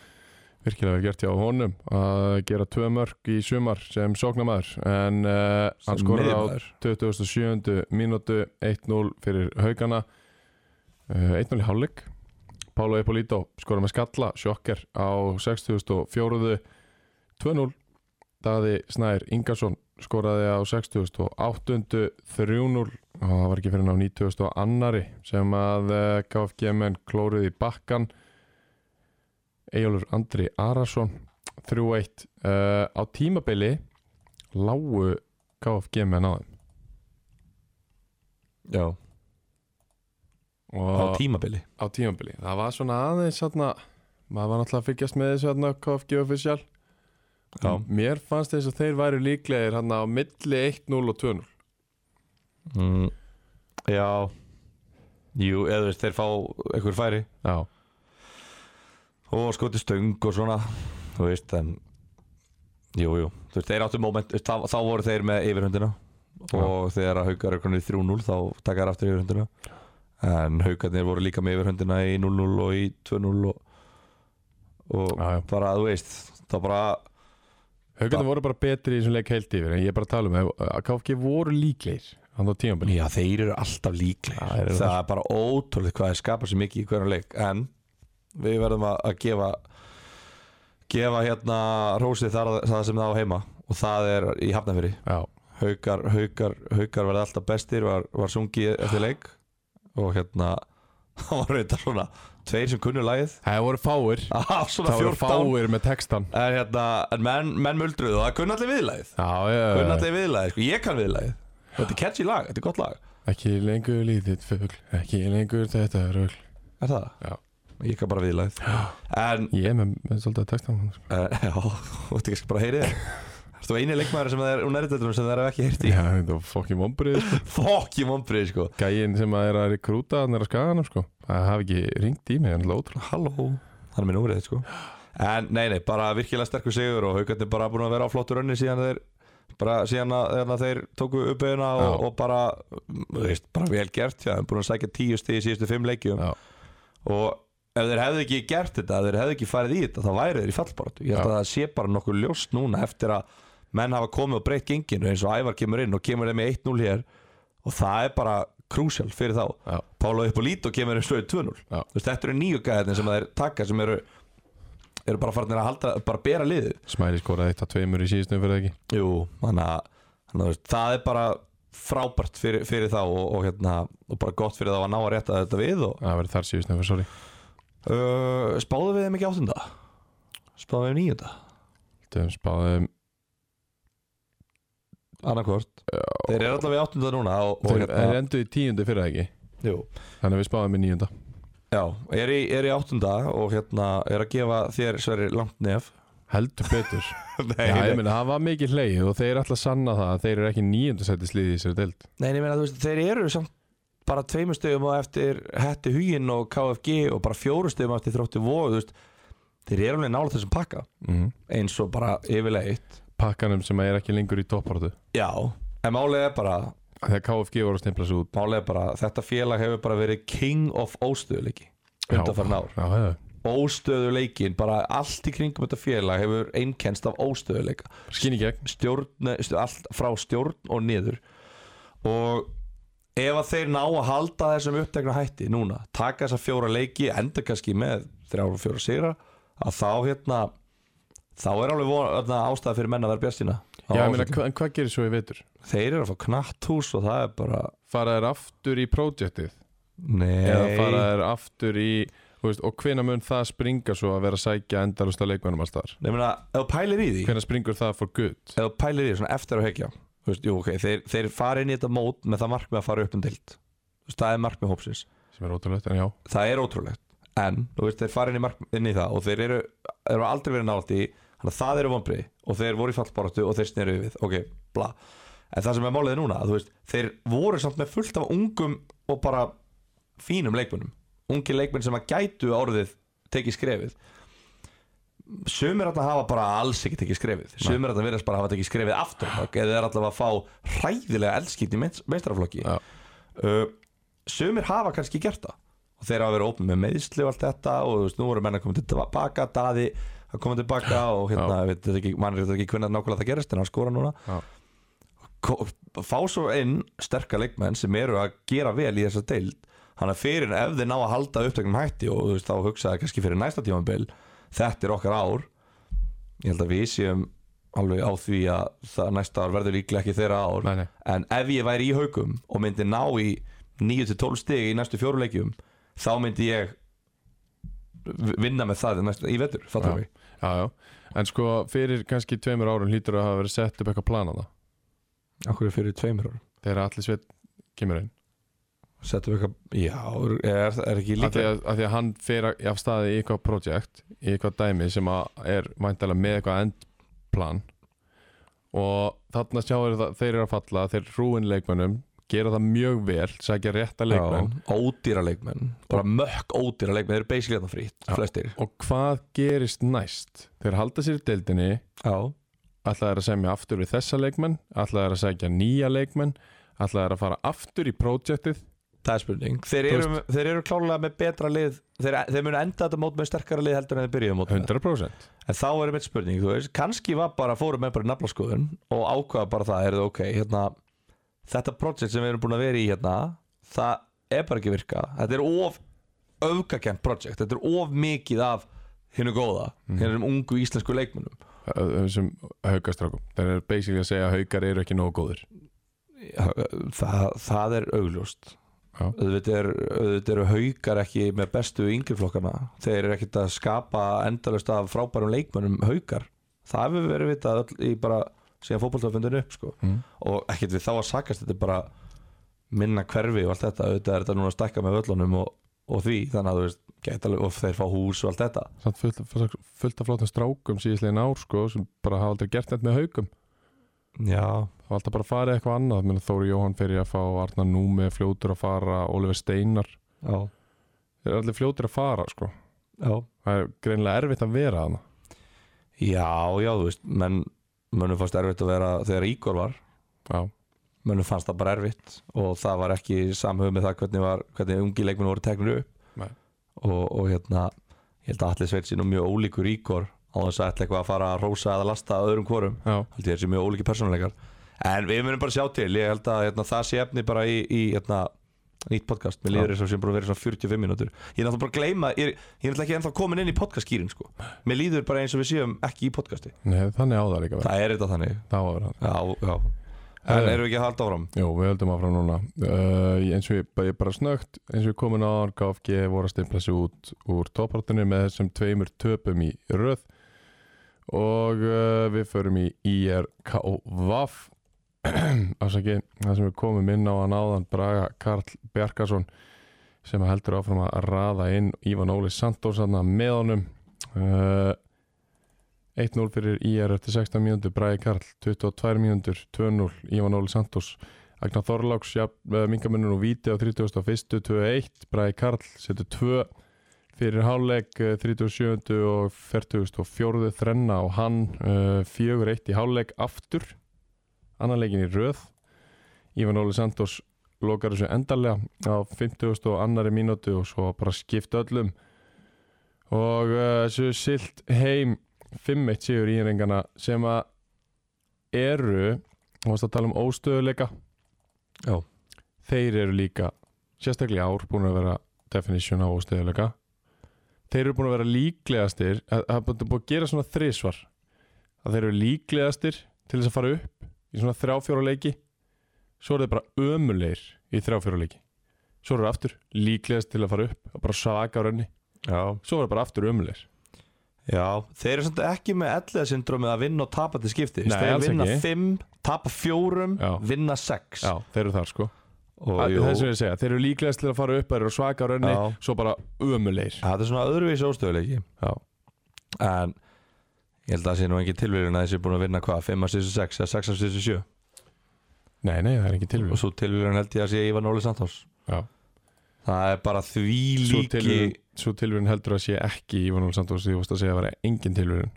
A: virkilega vel gert hjá honum að gera tvö mörg í sumar sem sóknamaður en uh, hann
B: Sem
A: skorar á
B: miðjumaður.
A: 27. mínútu 1-0 fyrir Haugana uh, 1-0 í hálfleik Pálo Epolito skorar með skalla sjokker á 64. 2-0 Daði Snær Ingarsson skoraði á 68. 3-0 og það var ekki fyrir ná 90. annari sem að eh, KFG menn klóruði í bakkan Eyjólfur Andri Arason 3-1 uh, á tímabili lágu KFG menn á þeim
B: Já Á
A: og á,
B: tímabili
A: tímabili það var svona aðeins þarna maður var náttúrulega að fylgjast með þessu þarna KFG official
B: Já.
A: mér fannst þess að þeir væri líklegir hann á milli 1-0 og 2-0
B: mm. Já Jú, eða þú veist þeir fá einhver færi
A: já,
B: og skoti stöng og svona Þú veist, en Jú, jú Þú veist, þeir áttu moment þú veist, þá, þá voru þeir með yfirhundina og þegar að haukar er konið 3-0 þá taka þær aftur yfirhundina en haukarnir voru líka með yfirhundina í 0-0 og í 2-0 og, og
A: já, já.
B: bara, þú veist þá bara,
A: Haukarnir voru bara betri í þessum leik heilt yfir en ég er bara að tala um að að KFG voru líklegir hann á tímabili
B: já þeir eru alltaf líklegir
A: Já, þeir eru
B: það er bara ótrúlega hvað þeir skapa sér mikið í hverjum leik en við verðum að, að gefa gefa hérna rósið þar það sem það á heima og það er í hafnafyrir
A: já,
B: haukar, haukar, haukar verði alltaf bestir var, var sungið eftir leik og hérna það var auðvitað svona tveir sem kunnu lagið
A: það voru fáir
B: af svona
A: það voru
B: 14
A: fáir með textan
B: en, hérna, en menn, menn muldruðu og það kunna allir viðlagið
A: já, já, já,
B: kunna
A: já.
B: allir viðlagið, sko. ég kann viðlagið þetta er catchy lag, þetta er gott lag
A: Ekki lengur lítið fugl, ekki lengur þetta rugl
B: er það?
A: Já.
B: ég kann bara viðlagið en,
A: Ég er með, með svolítið að texta hann sko.
B: en já, þú veit ekki bara að heyri það Þú eini leikmaður sem það er um nærtöldunum sem það er ekki heyrt í
A: Já, þetta var fokkin vombrið sko.
B: Fokki vombrið sko
A: Gæinn sem að er að rekrúta hann er að skaga hann sko. Það hafi ekki ringt í mig, hann er lótrú
B: Halló Hann er með núrið sko En nei nei, bara virkilega sterkur sigur og haugarnir bara búin að vera á flottur önni síðan þeir bara síðan að, þegar að þeir tóku uppeyðuna og,
A: Já.
B: og bara, mm, þú veist, bara vel gert já, þeir búin að sækja tíu stig í síðustu fimm leikjum
A: Já.
B: og ef þeir hefðu ekki gert þetta ef þeir hefðu ekki farið í þetta, þá væri þeir í fallbaratu ég held
A: Já.
B: að það sé bara nokkuð ljóst núna eftir að menn hafa komið og breytt genginu eins og Ævar kemur inn og kemur þeim í 1-0 hér og það er bara krúsjál fyrir þá
A: Já.
B: Pála Ippolito kemur eins og í 2-0
A: Já.
B: Þú veist, þetta eru nýju gæðin sem þeir taka sem eru, eru bara farnir að halda bara að bera liðið
A: Smæli skoraði eitt að tveimur í síðustum fyrir ekki
B: Jú, þannig að þannig að þú veist, það er bara frábært fyrir, fyrir þá og, og, hérna, og bara gott fyrir þá að ná að rétta þetta við og
A: Það verið þar síðustum fyrir, sorry
B: uh, spáðu við þeim ekki áttunda spáðu við þeim níunda
A: Þeim spáðum
B: annarkvort, þeir eru allavega í áttunda núna og, og
A: Þeir er endu í tíundu fyrir ekki
B: jú,
A: Þannig að við spáðum í níunda
B: já, er í, er í áttunda og hérna er að gefa þér sverri langt nef
A: Heldur betur
B: nei,
A: Já, ég
B: nei.
A: meina, það var mikið hleið og þeir ætla að sanna það að þeir eru ekki níundu sættisliði í sér deild
B: Nei, en ég meina, þú veist, þeir eru samt bara tveimur stegum á eftir Hetti Huginn og KFG og bara fjórum stegum á eftir Þrótti Vóð, þú veist þeir eru alveg nála þessum pakka
A: mm.
B: eins og bara yfirlega eitt
A: Pakkanum sem er ekki lengur í topparötu
B: Já, en málið er bara
A: Þegar KFG voru að stimpla svo út
B: málið er bara, þetta félag hefur bara verið king of óstöðuleiki
A: Já.
B: undanfarn ár,
A: Já, já,
B: óstöðuleikin bara allt í kringum þetta félag hefur einkennst af óstöðuleika
A: skinn í gegn
B: stjórn, nei, stu- allt frá stjórn og niður og ef að þeir ná að halda þessum upptekna hætti núna, taka þessa fjóra leiki enda kannski með þrjára og fjóra sigra að þá hérna þá er alveg von, hérna, ástæða fyrir menn að vera bjartina
A: Já, ég meina, hva, en hvað gerir svo í vetur?
B: þeir eru að fá knatt hús og það er bara
A: Fara þær aftur í projektið
B: nei,
A: eða fara þær aftur í þú veist, og hvena mun það springa svo að vera að sækja endalusta leikmannum alls staðar?
B: Nei, ég meina, ef þú pælir í því
A: Hvena springur það for good?
B: ef þú pælir í því svona eftir að hekja þú veist, jú, ok, þeir, þeir fara inn í þetta mót með það markmið að fara upp um deild Þú veist, það er markmið hópsins
A: sem er ótrúlegt, en já,
B: það er ótrúlegt en þú veist, þeir fara inn í, mark, inn í það og þeir eru, eru aldrei verið nált í þannig að það eru vonbriði og þeir voru í fallbaráttu og þeir sneru við, ok, bla en það sem er málið núna, þú veist þeir voru samt með fullt af ungum og bara fínum leikmönnum ungi leikmenn sem að gætu orðið tekið skrefið sumir að hafa bara alls ekki tekið skrefið sumir að það virðast bara hafa tekið skrefið aftur á bak, eða er allavega að fá hræðilega eldskipt í meistaraflokki
A: Já.
B: uh, sumir hafa kannski gert það og þeir hafa verið opið með meðsli og allt þetta og þú veist, nú voru menn að koma tilbaka daði að koma tilbaka og hérna, ég veit þetta ekki, mann er ekki hvernig nákvæmlega það gerist en hann skora núna
A: Já.
B: Ko- fá svo inn sterka leikmenn sem eru að gera vel í þessa deild þannig að fyrir en ef þeir ná að halda upptöknum hætti og þú veist, þá hugsaði kannski fyrir næsta tímambil þetta er okkar ár ég held að við séum alveg á því að það næsta ár verður líklega ekki þeirra ár
A: Nei, nei.
B: en ef ég væri í haukum og myndi ná í 9-12 stig í næstu fjóruleikjum þá myndi ég vinna með það í næstu, í vetur, fattum
A: já,
B: við
A: já, já. En sko fyrir kannski tveimur árum hlýtur að hafa verið sett upp eitthvað plan á það
B: Akkur er fyrir tveimur árum
A: Þegar allir sveit kemur inn
B: Settum við eitthvað, já, er, er ekki
A: af því,
B: líka
A: að, af því að hann fer að- af staði í eitthvað projekt Í eitthvað dæmi sem að er væntalega með eitthvað endplan Og þarna sjáir það þeir eru að falla Þeir rúin leikmönnum Gera það mjög vel, sækja rétta leikmenn
B: Já, ódýra leikmenn, bara mökk ódýra leikmenn, þeir eru basically þarna frýtt,
A: Já.
B: flestir
A: Og hvað gerist næst? Þeir halda sér í deildinni
B: Já,
A: ætlaði er að semja aftur við þessa leikmenn ætlaði er að segja nýja leikmenn ætlaði er að fara aftur í projektið
B: það er spurning Þeir
A: Þú
B: eru, þeir eru klálega með betra lið þeir, þeir munu enda þetta mót með sterkara lið heldur en þeir byrjuðu mót með
A: 100%
B: En þá er mitt spurning, þú veist, kannski var bara fórum með bara í naflaskoðun og ákvaða bara það, er það ok, hérna þetta projekt sem við erum búin að vera í hérna það er bara ekki að virka þetta er of öfgakent projekt þetta er of mikið af hinnu góða, mm. hinnum ungu íslensku leikmönnum
A: Ö- þessum haugastrákum þeir eru basically að segja að haugar eru ekki nógu góðir
B: það, það er augljóst
A: Já.
B: auðvitað er- auðvitað eru haukar ekki með bestu yngriflokkana þeir eru ekkert að skapa endalust af frábærum leikmönnum haukar það hefur verið vitað öll í bara síðan fótboltafundinu upp sko
A: Mm.
B: og ekkert við þá að sakast þetta er bara minna hverfi og allt þetta auðvitað er þetta núna að stækka með völlunum og, og því þannig að þú veist geta alveg og þeir fá hús og allt þetta
A: samt fullt, fullt- fullt af flottum strákum síðislegin ár sko sem bara hafa aldrei gert neitt með haugum
B: já,
A: hafa alltaf bara farið eitthvað annað Menna, Þóri Jóhann fyrir að fá Arnar Númi er fljótur að fara Oliver Steinar
B: já,
A: þeir eru allir fljótur að fara sko
B: já
A: það er greinlega erfitt að vera hana
B: já, já, þú veist menn, mönnum fannst erfitt að vera þegar Ígor var
A: já,
B: mönnum fannst það bara erfitt og það var ekki samhug með það hvernig, var, hvernig ungi leikmenn voru teknir upp
A: Nei.
B: og, og hérna ég held að allir sveit sér nú mjög ólíkur íkor á þess að ætla eitthvað að fara að rósa eða lasta öðrum hvorum,
A: já,
B: held ég þessi mjög ólíki persónuleikar en við munum bara sjá til ég held að hérna, það sé efni bara í, í hérna, nýtt podcast, mér líður þess að sem búin að vera í svona 45 mínútur, ég er náttúrulega bara að gleyma ég, er- ég er náttúrulega ekki ennþá komin inn í podcastskýrin sko. mér líður bara eins og við séum ekki í podcasti
A: Nei, þannig á það líka verið.
B: það er þetta þannig
A: það á að vera það
B: já, já.
A: Herðu.
B: en erum við ekki að halda áfram
A: Jó, við höldum áfram núna uh, eins og ég, ég bara snögt eins og ég komin á KFG voru að stimpla sig út úr toppartinu með þessum tveimur töpum í röð og uh, við förum í IRK og VAF afsaki, það sem við komum inn á að náðan Braga Karl Bjarkason sem heldur áfram að raða inn Ívan Óli Sandórs þarna með honum uh, 1-0 fyrir IR eftir 16 mínútur, Bragi Karl 22 mínútur, 2-0, Ívan Óli Sandórs Agnar Þorláks, ja, mingamunur og víti á 31. 21, Bræði Karl setur 2 fyrir hálfleik eh, 37. og 44. þrenna og hann uh, 4-1 í hálfleik aftur annan leikin í röð Ívan Óli Sandors lokar þessu endarlega á 50. og annari mínútu og svo bara skipt öllum og eh, þessu silt heim 5-1 sigur íringana sem að eru, þú varst að tala um óstöðuleika
B: já
A: þeir eru líka sérstaklega í ár búin að vera definition á óstegjuleika þeir eru búin að vera líklegastir að- það er búin búin að gera svona þrisvar að þeir eru líklegastir til þess að fara upp í svona þrjáfjóra leiki svo eru þeir bara ömulegir í þrjáfjóra leiki svo eru þeir aftur líklegast til að fara upp og bara saga á rönni
B: Já,
A: svo eru þeir bara aftur ömulegir
B: þeir eru samt ekki með ellega syndromið að vinna og tapa til skipti
A: Nei,
B: Þeir
A: alls
B: vinna
A: ekki.
B: 5, tapa 4,
A: Já.
B: vinna 6
A: já, þeir eru þar sko
B: og
A: Að-
B: jú,
A: Það er sem ég segja, þeir eru líklegast til að fara upp, þeir eru svaka á rönni,
B: Já.
A: svo bara ömulegir.
B: þetta er svona öðruvísi óstöðuleiki
A: Já.
B: en ég held að það sé nú engin tilvíðun að þessi er búin að vinna hvað 5 að sísu 6 eða 6 að sísu 7
A: Nei, nei, það er ekki tilvíð.
B: og svo tilvíðun held ég að sé Ívan Óli Santos
A: Já.
B: það er bara því
A: Svo
B: líki
A: tilvíðun, svo tilvíðun heldur að sé ekki í Ívonul Sandós því þú vorst að segja að það væri engin tilvíðun.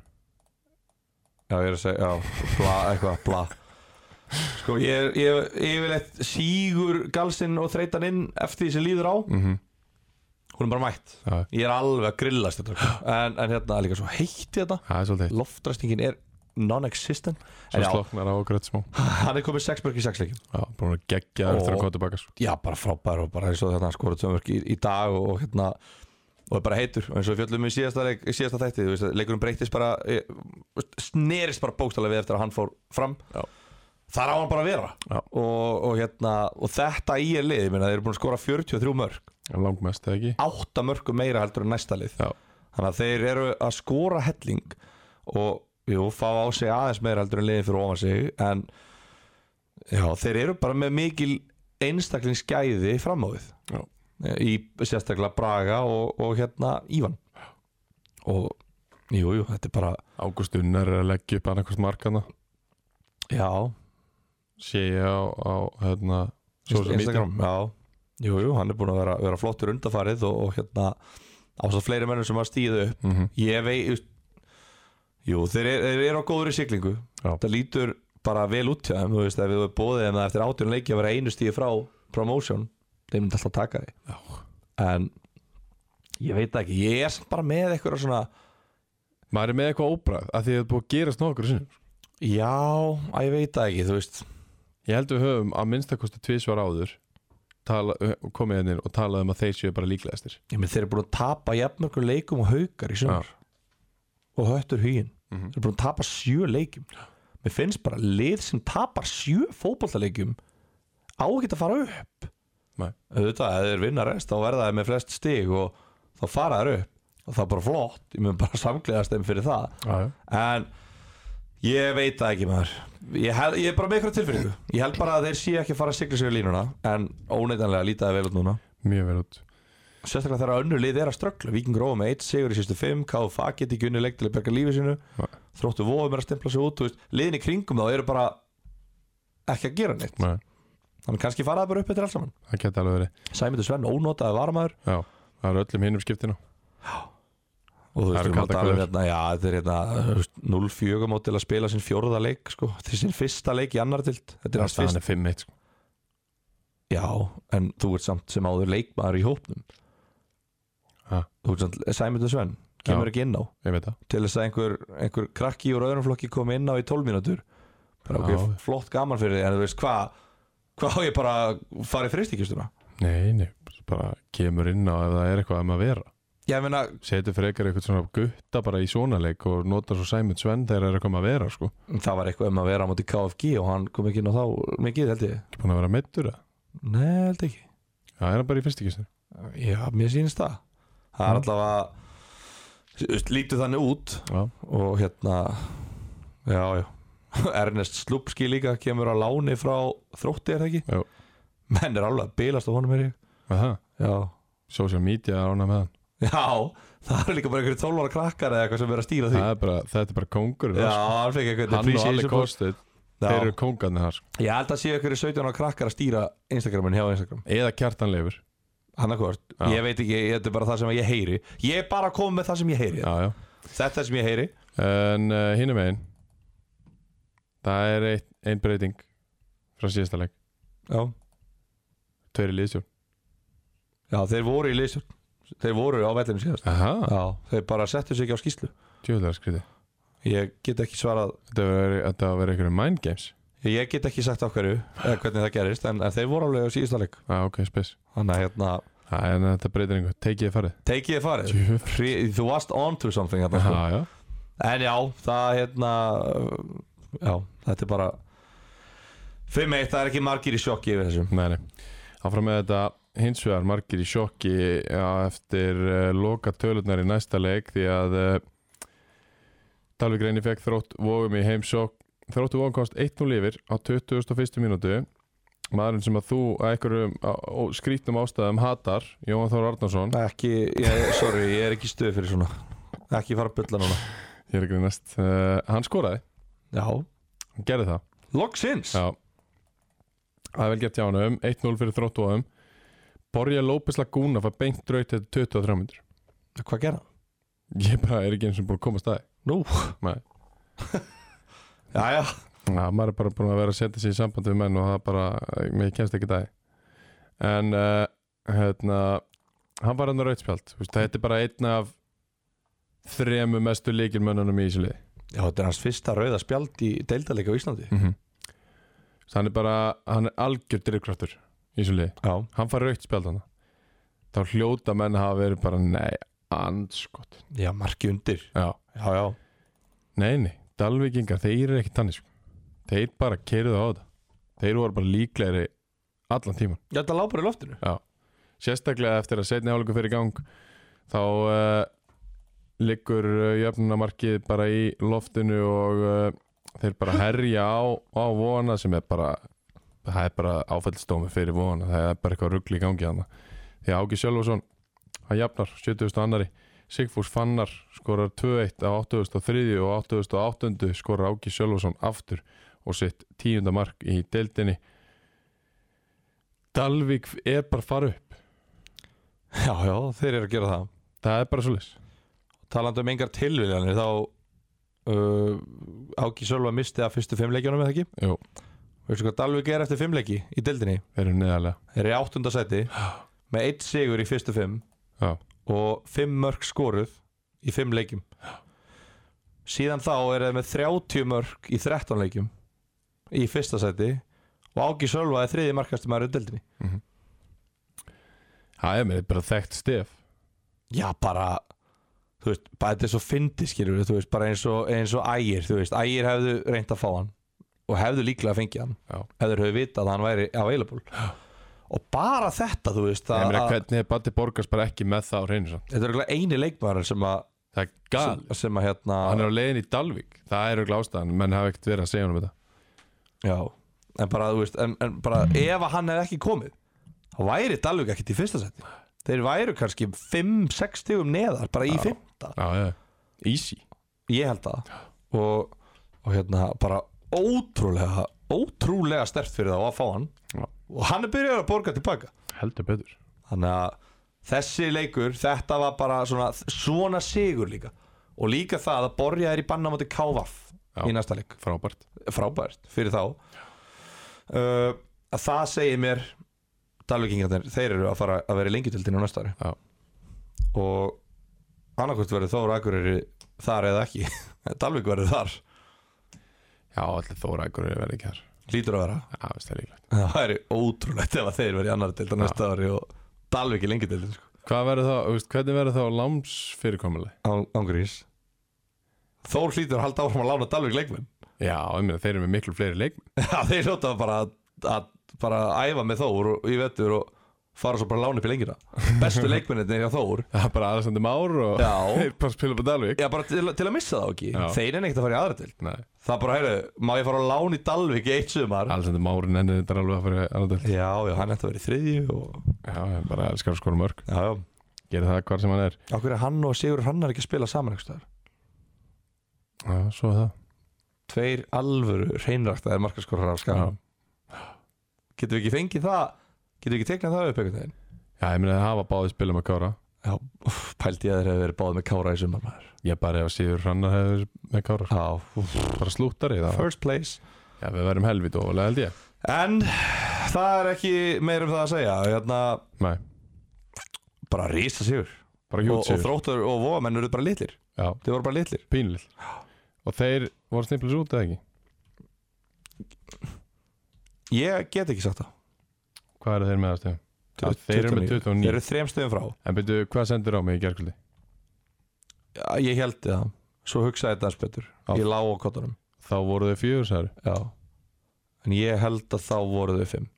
B: Já, ég er að segja, já, bla, eitthvað, bla Sko, ég, ég, ég vil eitt sígur galsinn og þreytan inn eftir því sem líður á
A: Mm -hmm.
B: Hún er bara mætt
A: Já.
B: Ég er alveg að grillast þetta En, en hérna, líka svo heitt þetta
A: Það er svolítið, heitt.
B: Loftræstingin er non-existent
A: svo
B: En já,
A: sloknar á og grönt smá.
B: hann er komið 6 mörg í 6 leikin
A: Já, búin að gegja það eftir að
B: Og-
A: koma tilbaka. sko.
B: Já, bara frábær og bara eins og þetta skora 2 mörg í, í dag og, og hérna Og er bara heitur, og eins og við fjöllum um í síðasta, leik, í síðasta þætti þú veist, að Leikurum breytist bara, eh, snerist bara bókstælega við eftir að hann fór fram
A: Já.
B: Þar á hann bara að vera
A: Já.
B: og, og, hérna, og þetta í er lið ég meina, þeir eru búin að skora 43 mörg
A: Langmest, eða ekki?
B: 8 mörg meira heldur en næsta lið
A: Já.
B: þannig að þeir eru að skora helling og jú, fá á sig aðeins meira heldur en liðin fyrir ofan sig en já, þeir eru bara með mikil einstaklingsgæði framöfið
A: Já.
B: í sérstaklega Braga og, og hérna Ívan og jú, jú, þetta er bara
A: Ágúst Unnar er að leggja upp annarkvæmst markana.
B: já,
A: Sé ég á, á hérna, social media.
B: Instagram, já Jú, jú, hann er búin að vera, vera flottur undarfarið og, og hérna ástáð fleiri mennum sem að stíðu upp
A: Mhm.
B: Ég vei Jú, þeir eru er á góður í siglingu
A: Já.
B: Það lítur bara vel út hjá þeim Þú veist, ef við bóðið þeim að eftir átjón leiki að vera einu stíði frá promotion þeir myndi alltaf taka því
A: Já.
B: En ég veit það ekki, ég er samt bara með eitthvað svona
A: Maður er með eitthvað óbræð, að því það er búið að gerast nokkur sinnum. sko.
B: Já, að ég veit það ekki, þú veist
A: Ég held við höfum að minnstakosti tvísvar áður tala, komið hennir og talað um að þeir séu bara líklegastir.
B: Ég meni þeir eru búin að tapa jafnmörgum leikum og haukar í sumar og höttur hugin
A: Mhm.
B: þeir eru búin að tapa sjö leikum mér finnst bara lið sem tapar sjö fótbollaleikjum á ekki að fara upp
A: Nei.
B: auðvitað, ef þeir vinna rest þá verða þeir með flest stig og þá fara þeir upp og það er bara flott, ég mun bara samgleðast þeim fyrir það
A: Já, já.
B: en ég veit það ekki maður ég, hel, ég er bara með ykkur tilfinningu ég held bara að þeir séu ekki að fara að sigla sig í línuna en óneitanlega lítaði vel út núna
A: Mjög vel út.
B: sérstaklega þegar önnu lið er að ströggla Víkingur óa með 1 sigur í sístu 5 KFA get ekki unni leik til að berga lífi sínu
A: Nei.
B: þróttu vofum er að stempla sig út þú veist, liðin í kringum þá eru bara ekki að gera neitt
A: Nei,
B: þannig kannski fara það bara upp eftir alls saman
A: það geti alveg verið.
B: Sæmundur Svenn ónotaði varmaður
A: Já, það eru öllum hinnum skiptina.
B: og þú
A: Það
B: veist,
A: eru
B: við mátt
A: kaldar
B: alveg
A: kolur.
B: hérna, já, þetta er hérna þú veist, 0-4 mót til að spila sinn fjórða leik sko. þetta er sinn fyrsta leik í annar tilt þetta er hans fyrst,
A: er 5-1 sko.
B: já, en þú ert samt sem áður leikmaður í hópnum
A: Ha.
B: þú ert samt, Sæmundur Svenn
A: Já.
B: kemur ekki inn á
A: Ég veit það.
B: til þess að einhver, einhver krakki úr öðrum flokki kom inn á í 12 mínútur bara
A: Já.
B: okkur flott gaman fyrir þig en þú veist hvað hvað á ég bara að fara í fristikistuna
A: Nei, nei, bara kemur inn á ef það er eitthvað um að vera.
B: ég meina,
A: Setur frekar eitthvað svona gutta bara í svona leik og notar svo Sæmund Svenn þegar er eitthvað um að vera sko.
B: það var eitthvað um að vera á móti KFG og hann kom ekki inn á þá mikið held ég
A: Ekki búin að vera meittur það.
B: nei, held ekki,
A: Já, er hann bara í fyrstikistinu.
B: já, mér sýnist það það er
A: Já.
B: alltaf að þú veist, lítur þannig út
A: Já,
B: og hérna já, já Ernest Slupski líka kemur á láni frá þrótti er það ekki
A: Jú.
B: menn er alveg að bilast á honum er ég
A: aha.
B: já,
A: Social media er ána með hann.
B: Já, það er líka bara einhverju 12 ára krakkar eða eitthvað sem er að stýra því
A: Það er bara, þetta er bara kongur.
B: Já, hann fekk eitthvað
A: hann og Alli Kostið, þeir
B: Já,
A: eru kongarnir þar sko.
B: Ég held að séu einhverju 17 ára krakkar að stýra Instagramin hjá Instagram
A: eða kjartanleifur
B: Annarkvort,
A: Já.
B: ég veit ekki, þetta er bara það sem ég heyri Ég er bara að koma með það sem ég heyri
A: já, já.
B: Þetta er það sem ég heyri
A: en uh, hinn er megin það er ein, ein breyting frá síðasta leik,
B: Já,
A: tveiri liðsjón
B: Já þeir voru í liðsjörn Þeir voru á vellinu síðast
A: aha,
B: Já, þeir bara settu sig ekki á skýslu
A: tjóðlega skriði
B: Ég get ekki svarað
A: þetta var, þetta var verið einhverjum mind games
B: Ég get ekki sagt okkur hvernig það gerist en, en þeir voru alveg á síðasta leik
A: ah, ok, spes,
B: Þannig að hérna,
A: ah, en þetta breytir einhver tekið þið farið
B: tekið þið farið
A: Djöfull.
B: Hri- Þú varst on to something hérna, sko.
A: já, já,
B: En já, það hérna Já, þetta er bara 5-1, það er ekki margir í sjokki yfir þessum
A: nei, nei áfram með þetta, hins vegar margir í sjokki já, eftir uh, loka tölunar í næsta leik því að uh, Dalvik reyni fekk þrótt vógum í heimsók þróttu vógum komst 1-0 yfir á 21. mínútu maðurinn sem að þú að einhverjum á- ó- skrýtnum ástæðum hatar Jóhann Þór Arnarsson
B: Ekki, ég, sorry, ég er ekki stuð fyrir svona Ekki fara að bylla núna
A: ég er að grínast, uh, hann skoraði
B: Já,
A: hann gerði það
B: loksins
A: Já. það er vel gert hjá hann 1-0 fyrir þróttuðum Borja López Laguna fær beint draut þetta 23 myndur
B: Hvað gera?
A: ég bara er ekki eins og búin að komast að
B: Nú
A: Nei.
B: Jæja
A: Já, maður er bara búin að vera að setja sig í sambandi við menn og það bara, mér kemst ekki dag en uh, hérna, hann var hann rautspjald Þú veist, þetta er bara einn af þremu mestu líkilmönnunum í Ísili
B: Já, þetta er hans fyrsta rauða spjald í deildarleika á Íslandi
A: mm -hmm. hann er bara hann er algjör drifkraftur í Ísili,
B: Já
A: hann fær rautspjald hann þá hljóta menn hafa verið bara nei, andskot
B: Já, marki undir
A: Já,
B: Já, já
A: nei, nei, Dalvíkingar þeir eru ekki tannis þeir bara keirðu á þetta þeir voru bara líklegri allan tíma
B: Já, þetta lápar í loftinu
A: sérstaklega eftir að setni hálfleiku fyrir gang þá uh, liggur uh, jöfnunamarkið bara í loftinu og uh, þeir bara herja á, á vona sem er bara það er bara áfællstómi fyrir vona það er bara eitthvað ruggli í gangi hana því að Áki Sjölvason, hann jafnar 70. annari, Sigfús Fannar skorar 2-1 á 83. og 88. skorar Áki Sjölvason aftur og sitt tíunda mark í deildinni Dalvik er bara að fara upp
B: Já, já, þeir eru að gera það
A: Það er bara svo leys
B: Talandi um engar tilviljanir þá uh, Áki Sölva misti að fyrstu fimmleikjunum eða ekki
A: Jú.
B: Veistu hvað Dalvik er eftir fimmleiki í deildinni
A: Þeir eru neðarlega
B: Þeir eru í áttunda sæti með eitt sigur í fyrstu fimm
A: Já.
B: og fimm mörg skoruð í fimm leikjum síðan þá er þeir með 30 mörg í 13 leikjum í fyrsta sæti og Áki Sölva er þriði markastum aðra deildinni
A: Það er með bara þekkt stef
B: Já, bara þú veist, bara þetta er svo fyndi skilur þú veist, bara eins og, eins og ægir þú veist, ægir hefðu reynt að fá hann og hefðu líklega að fengja hann
A: Já.
B: hefðu hefðu vitað að hann væri available og bara þetta, þú veist
A: Ég
B: að,
A: meina
B: að,
A: hvernig er Batti Borgars bara ekki með það á hreinu samt
B: þetta er örugglega eini leikmaður sem að
A: Það er
B: sem,
A: gal
B: sem að hérna
A: Hann er á leiðin í Dalvik Það er auðvitað ástæðan Menn hafa ekkert verið að segja honum þetta
B: já, en bara, þú veist, en, en bara ef að hann hefði ekki komið þá væri Dalvik ekkert í fyrsta seti þeir væru kannski 5-6 stigum neðar bara í
A: Já.
B: fymta,
A: Já, já Easy
B: ég held það og, og hérna bara ótrúlega ótrúlega stert fyrir þá að fá hann
A: Já.
B: og hann er byrjað að borga tilbaka
A: Heldur betur
B: þannig að þessi leikur þetta var bara svona, svona sigur líka og líka það að borja er í banna á móti Kávaf
A: Já.
B: í næsta leik
A: Frábært
B: frábært fyrir þá uh, að það segir mér Dalvíkingarnir, þeir eru að fara að vera lengi til á næsta ári
A: Já.
B: og annarkvort verður Þóra Akureyri þar eða ekki Dalvík verður þar,
A: Já, allir Þóra Akur er verið ekki þar
B: lítur að vera
A: Já, veist það er líklegt
B: það væri ótrúlegt ef að þeir verður í annar til á næsta ári og Dalvík í lengi til sko.
A: Hvað verður þá, þú veist, hvernig verður þá lámsfyrirkomuleg?
B: Án- án gríns. Þór hlýtur að halda áfram að lána Dalvík leikmenn
A: Já, ég meina þeir eru með miklu fleiri leik
B: Já, þeir hljóta bara að, að bara að æfa með Þór og, í vettur og fara svo bara að lána upp í lengjuna bestu leikmenninni hjá Þór
A: Það er bara aðastandi már og
B: Já,
A: Þeir bara spila på Dalvik
B: já bara til, til að missa þá ekki
A: Já.
B: þeir er ekkert að fara í aðra til
A: Nei,
B: það er bara, heyrðu, má ég fara að lána í Dalvik í eitt sumar
A: aðastandi már nennir þetta alveg að fara annað
B: Já, já, hann ætti að vera í þriðju og...
A: Já, ég bara elskar að skora mörg
B: Já, já,
A: Gerir það hvar sem hann er
B: okkur er hann og Sigur Hrannar ekki að spila saman einhverstaðar
A: Já, svo er það
B: Tveir alvöru hreinræktaðir markaskorrar á skam Getum við ekki fengið það Getum við ekki teknað það upp einhvern veginn
A: Já, ég meina það hafa báði spilum að kára
B: Já, úff, pældi ég að þeir hefur verið báð með kára í sumar maður
A: Ég bara ef Sigur Hrannar hefur með kára sko.
B: Já, úff,
A: Bara slúttari það
B: first place
A: Já, við verðum helvít ofalega held ég
B: En það er ekki meir um það að segja Hérna,
A: Nei,
B: bara rísa sigur
A: bara
B: og, og
A: hjútsigur
B: þróttur og vóamenn eru bara litlir
A: Já,
B: Þeir voru bara litlir
A: pínlill Og þeir voru snimplis út eða ekki?
B: Ég get ekki sagt það
A: Hvað eru þeir með aðstöðum? Já,
B: Tut-
A: þeir eru með 29.
B: Þeir eru þrem stöðum frá
A: En byrju, hvað sendur á mig í gerkvöldi?
B: Já, Ég held það Svo hugsaði þetta aðeins betur
A: Já.
B: Ég lá á kottunum
A: Þá voru þau fjögur, sagður
B: Já En ég held að þá voru þau fimm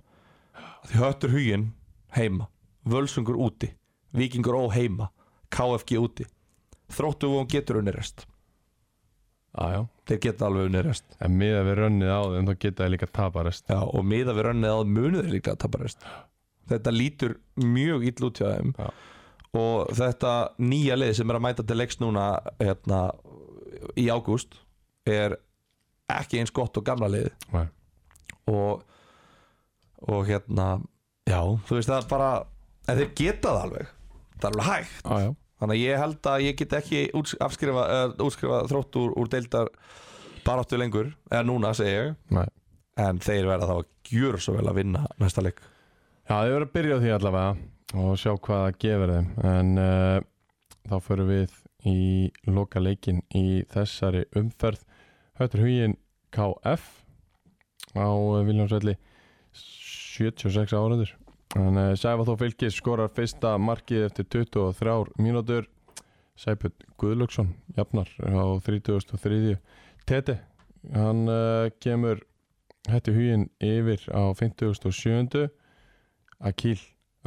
B: Því höttur huginn heima Völsungur úti Víkingur ó heima KFG úti Þróttu og getur unni rest
A: Já, já,
B: þeir geta alveg unnið rest
A: En miða við rönnið á þeim, þá geta þið líka taparest.
B: Já, og miða við rönnið að munið er líklega að tapa rest Þetta lítur mjög ill út hjá þeim
A: Já.
B: og þetta nýja lið sem er að mæta til leiks núna hérna, í ágúst er ekki eins gott og gamla lið
A: Nei.
B: og, og hérna já, þú veist það er bara en þeir geta það alveg það er alveg hægt
A: Á, já.
B: þannig að ég held að ég get ekki úts, afskrifa, uh, útskrifa þrótt úr, úr deildar baráttu lengur eða núna segi ég
A: Nei.
B: en þeir verða þá að gjör svo vel að vinna næsta leik
A: Já, þið verður að byrja á því allavega og sjá hvað það gefur þeim en uh, þá förum við í loka leikin í þessari umferð Höttur hugin KF á Viljámsvelli 76 áraður en uh, Sæfa þó fylgis skorar fyrsta markið eftir 23 mínútur Sæpjörn Guðlöksson jafnar á 33. Tete, hann uh, kemur hætti hugin yfir á 57. Akil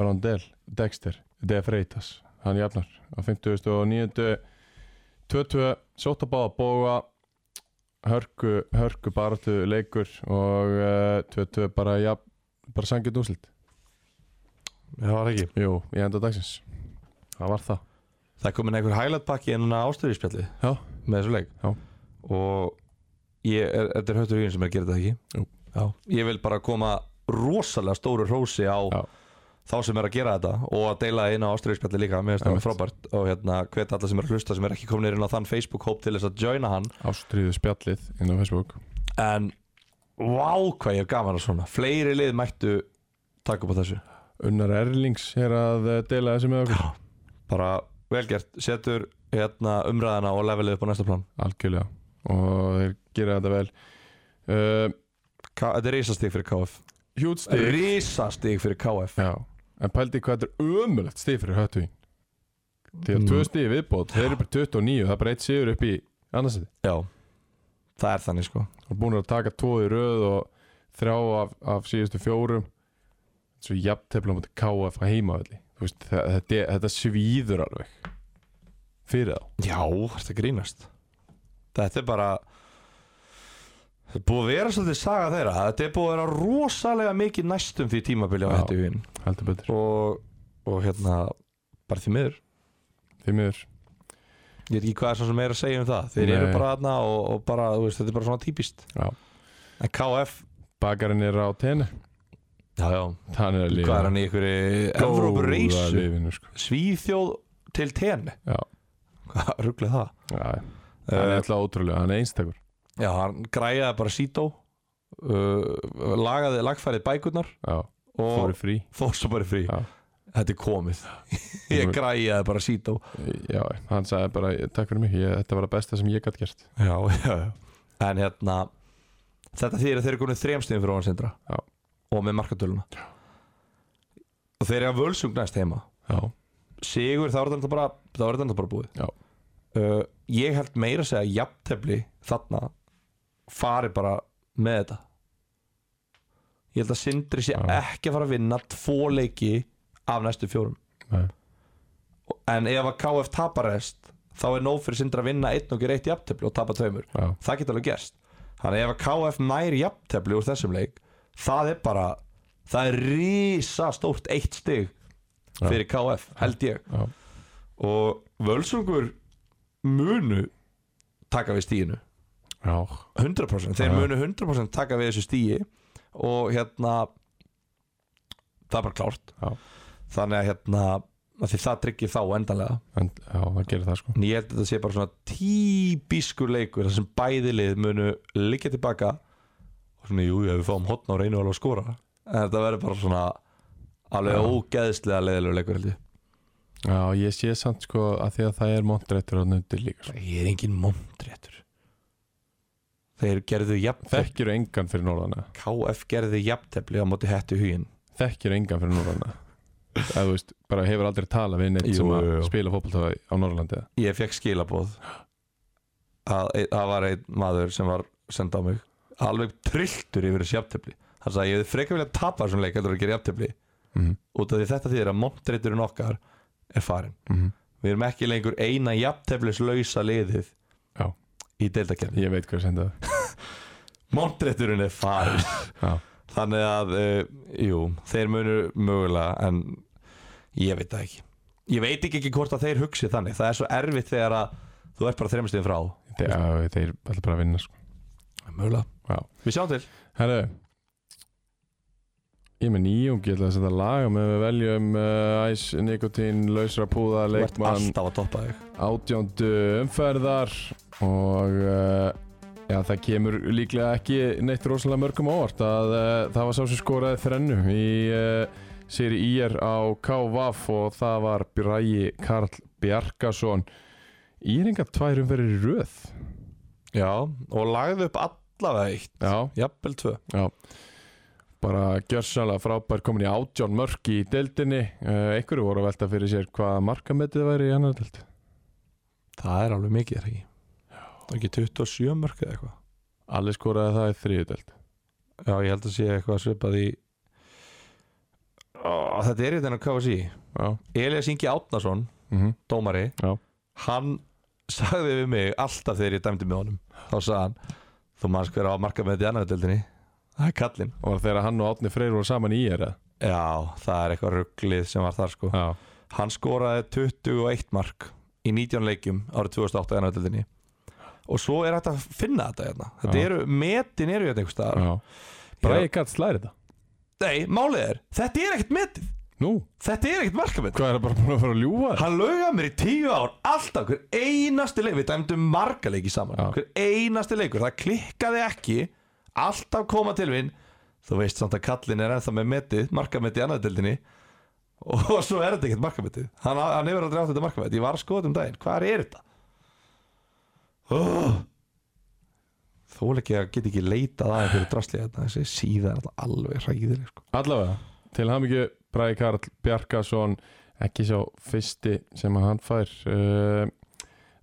A: Rondell Dexter De Freitas hann jafnar á 59. 22 sótabáða bóa hörku, hörku baratu leikur og uh, 22 bara, jafn, bara sangið úslit
B: það var ekki
A: Jú, í enda dagsins það var það
B: það er komin einhver highlight pakki en núna ástöðispjalli
A: Já.
B: með þessu leik
A: Já.
B: og ég er, þetta er höttur hugin sem er að gera þetta ekki
A: Jú.
B: Já. ég vil bara koma rosalega stóru hrósi á
A: Já.
B: þá sem er að gera þetta og að deila inn á ástriðspjalli líka mér finnst það
A: Einmitt.
B: frábært og hérna hvet alla sem er að hlusta sem er ekki komin inn á þann Facebook-hóp til þess að joina hann
A: Ástriðu spjallið inn á Facebook
B: en vá hvað ég er gaman að svona fleiri lið mættu taka upp á þessu
A: Unnar Erlings er að eh, deila þessu með okkur
B: bara velgert, setur hérna umræðina og levelið upp á næsta plan
A: algjörlega og þeir gera þetta vel uh,
B: Ka þetta er rísastig fyrir KF
A: Hjútstig
B: rísastig fyrir KF
A: Já, en pældi hvað þetta er ömulegt stíð fyrir höttuvín Því að tvö stíð viðbót, þeir eru bara 29 það er bara eitt sigur upp í annarsæti
B: já, það er þannig sko
A: og búin að taka tvo í röð og þrjá af, af síðustu fjórum svo jafntefla mútið KF að heimavalli Þú veist, þa- þetta, er- þetta svíður alveg fyrir þá
B: Já, þetta grínast Þetta er bara Þetta er búið að vera svolítið saga þeirra Þetta er búið að vera rosalega mikið næstum því tímabili á
A: Já.
B: þetta hugin
A: heldur betur,
B: og, og hérna bara því miður
A: því miður
B: Ég veit ekki hvað er svo sem er að segja um það Þeir eru
A: Nei.
B: bara þarna og, og bara, þú veist, þetta er bara svona típist
A: Já.
B: En KF
A: Bakarinn er á tenni,
B: Já, já
A: hann er að lifa
B: Hvað er hann í ykkur Evrópureysu
A: lífinu, sko.
B: Svíþjóð til ten
A: Já.
B: Hvað rugglega það? Eh,
A: Já, já. hann er alltaf ótrúlega, hann er einstakur
B: Já, hann græjaði bara sító uh, Lagaði lagfærið bækurnar
A: Já,
B: og
A: fóru frí
B: fór svo bara í frí
A: Já.
B: þetta er komið ég græjaði bara sító
A: Já, hann sagði bara takk fyrir mig, ég, þetta var það besta sem ég gætt gert
B: já, já, já en hérna þetta þýðir að þeir eru konið þremstegin fyrir ofan sindra
A: Já.
B: og með markatöluna já. og þeir eru að völsung næst heima
A: Já,
B: sigur þá er þetta bara, þá er þetta bara búið
A: Já.
B: uh, ég held meira að segja jafntefli þarna fari bara með þetta ég held að sindri sé
A: Já.
B: ekki að fara að vinna tvo leiki af næstu fjórum
A: Nei.
B: en ef að KF tapar rest þá er nóg fyrir sindri að vinna einn og gera eitt jafntefli og tapa tveimur
A: já,
B: það geta alveg gerst þannig að ef að KF nær jafntefli úr þessum leik það er bara það er rísa stórt eitt stig
A: Já.
B: fyrir KF held ég
A: já,
B: og völsungur munu taka við stíinu
A: já
B: 100%
A: Já.
B: þeir munu 100% taka við þessu stíi og hérna það er bara klárt
A: Já.
B: þannig að hérna að því það tryggir þá endanlega
A: en, Já, það gerir það sko
B: en ég held að þetta sé bara svona típiskur leikur þar sem bæði lið munu liggja tilbaka og svona jú, ef við fáum hotn á reynu alveg að skora en þetta verður bara svona alveg
A: Já.
B: ógeðslega leiðilegur leikur held ég
A: Já, ég sé samt sko að því að það er montrættur á nöndir líka sko.
B: Ég er engin montréttur Þeir gerðu jafntefli
A: Þekkir engan fyrir norðana
B: KF gerðu jafntefli á móti hættu hugin
A: Þekkir engan fyrir norðana Eða þú veist, bara hefur aldrei talað við neitt
B: Jú,
A: sem að
B: jú, jú.
A: spila fótbolta á Norrlandi eða?
B: Ég fekk skilabóð að einn- það var einn maður sem var senda á mig alveg trilltur yfir þessu jafntefli Hann sagði ég hefði frekar vilja tapa þessum leik heldur en að gera jafntefli
A: Mhm,
B: út af því þetta þýðir að montrétturinn okkar er farin
A: mhm,
B: Við erum ekki lengur eina jafnteflislausa liðið
A: Já.
B: í deildakefni
A: Ég veit hvað senda það
B: Montrétturinn er farin
A: Já.
B: Þannig að, uh, jú, þeir munu mögulega En ég veit það ekki Ég veit ekki, ekki hvort að þeir hugsi þannig Það er svo erfitt þegar að þú ert bara þremstíðin frá
A: Þeir, já, þeir ætla bara að vinna sko.
B: Mögulega
A: Já.
B: Við sjáum til
A: Herru Ég er með nýjung, ég ætla að setja laga með við veljum uh, æs, nikotín, lausra púða,
B: Þú ert
A: leikmann
B: alltaf að toppa þig
A: átjóndu umferðar og uh, já, það kemur líklega ekki neitt rosalega mörgum á óvart að uh, það var sá sem skoraði þrennu í uh, séri IR á KVAF og það var Bræi Karl Bjarkason Íringa tvær umferðir í röð
B: Já, og lagðu upp allavega eitt
A: Já,
B: Jafnvel tvö
A: bara gjörsanlega frábær komin í átjón mörg í deildinni uh, einhverju voru að velta fyrir sér hvað markametið væri í annar deild
B: Það er alveg mikið, er ekki Það er ekki 27 mörg eða eitthvað
A: Allir skoraði það í þriðu deild
B: Já, ég held að sé eitthvað svipað í Ó,
A: Ah.
B: Þetta er hérna í þennan KFC
A: Já,
B: Elias Ingi Átnason,
A: mhm
B: dómari
A: Já.
B: Hann sagði við mig alltaf þegar ég dæmdi með honum Þá sagði hann Þú manns hver á marka með þetta í annaðutöldinni Það er kallinn
A: Og var þegar hann og Átni Freyr voru saman í er
B: Já, það er eitthvað rugglið sem var þar sko
A: Já,
B: Hann skoraði 21 mark í 19 leikjum árið 2008 í annaðutöldinni Og svo er hægt að finna þetta hérna Þetta
A: Já.
B: eru, metin eru hérna einhvers staðar
A: já Bara ég gætt slæri þetta
B: Nei, málið er, þetta er ekkert metið
A: Nú,
B: Þetta er ekkert markamett
A: hvað er það bara búin að fara að ljúga þér?
B: Hann laugaði mér í tíu ár Alltaf hver einasti leik Við dæmdum marga leiki saman
A: Já.
B: Hver einasti leikur, það klikkaði ekki Alltaf koma til minn Þú veist samt að kallin er ennþá með metið Markametti í annaðdeldinni Og svo er þetta ekkert markamettið Hann, hann hefur aldrei átt þetta markamett Ég var að skoða þetta um daginn, hvað er þetta? Oh. Þú ekki að geta ekki leitað aðeins fyrir drasli Þetta þessi síða er alltaf alveg hræðileg sko.
A: Allavega, til hamingju Bræði Karl Bjarkason Ekki sá fyrsti sem að hann fær uh,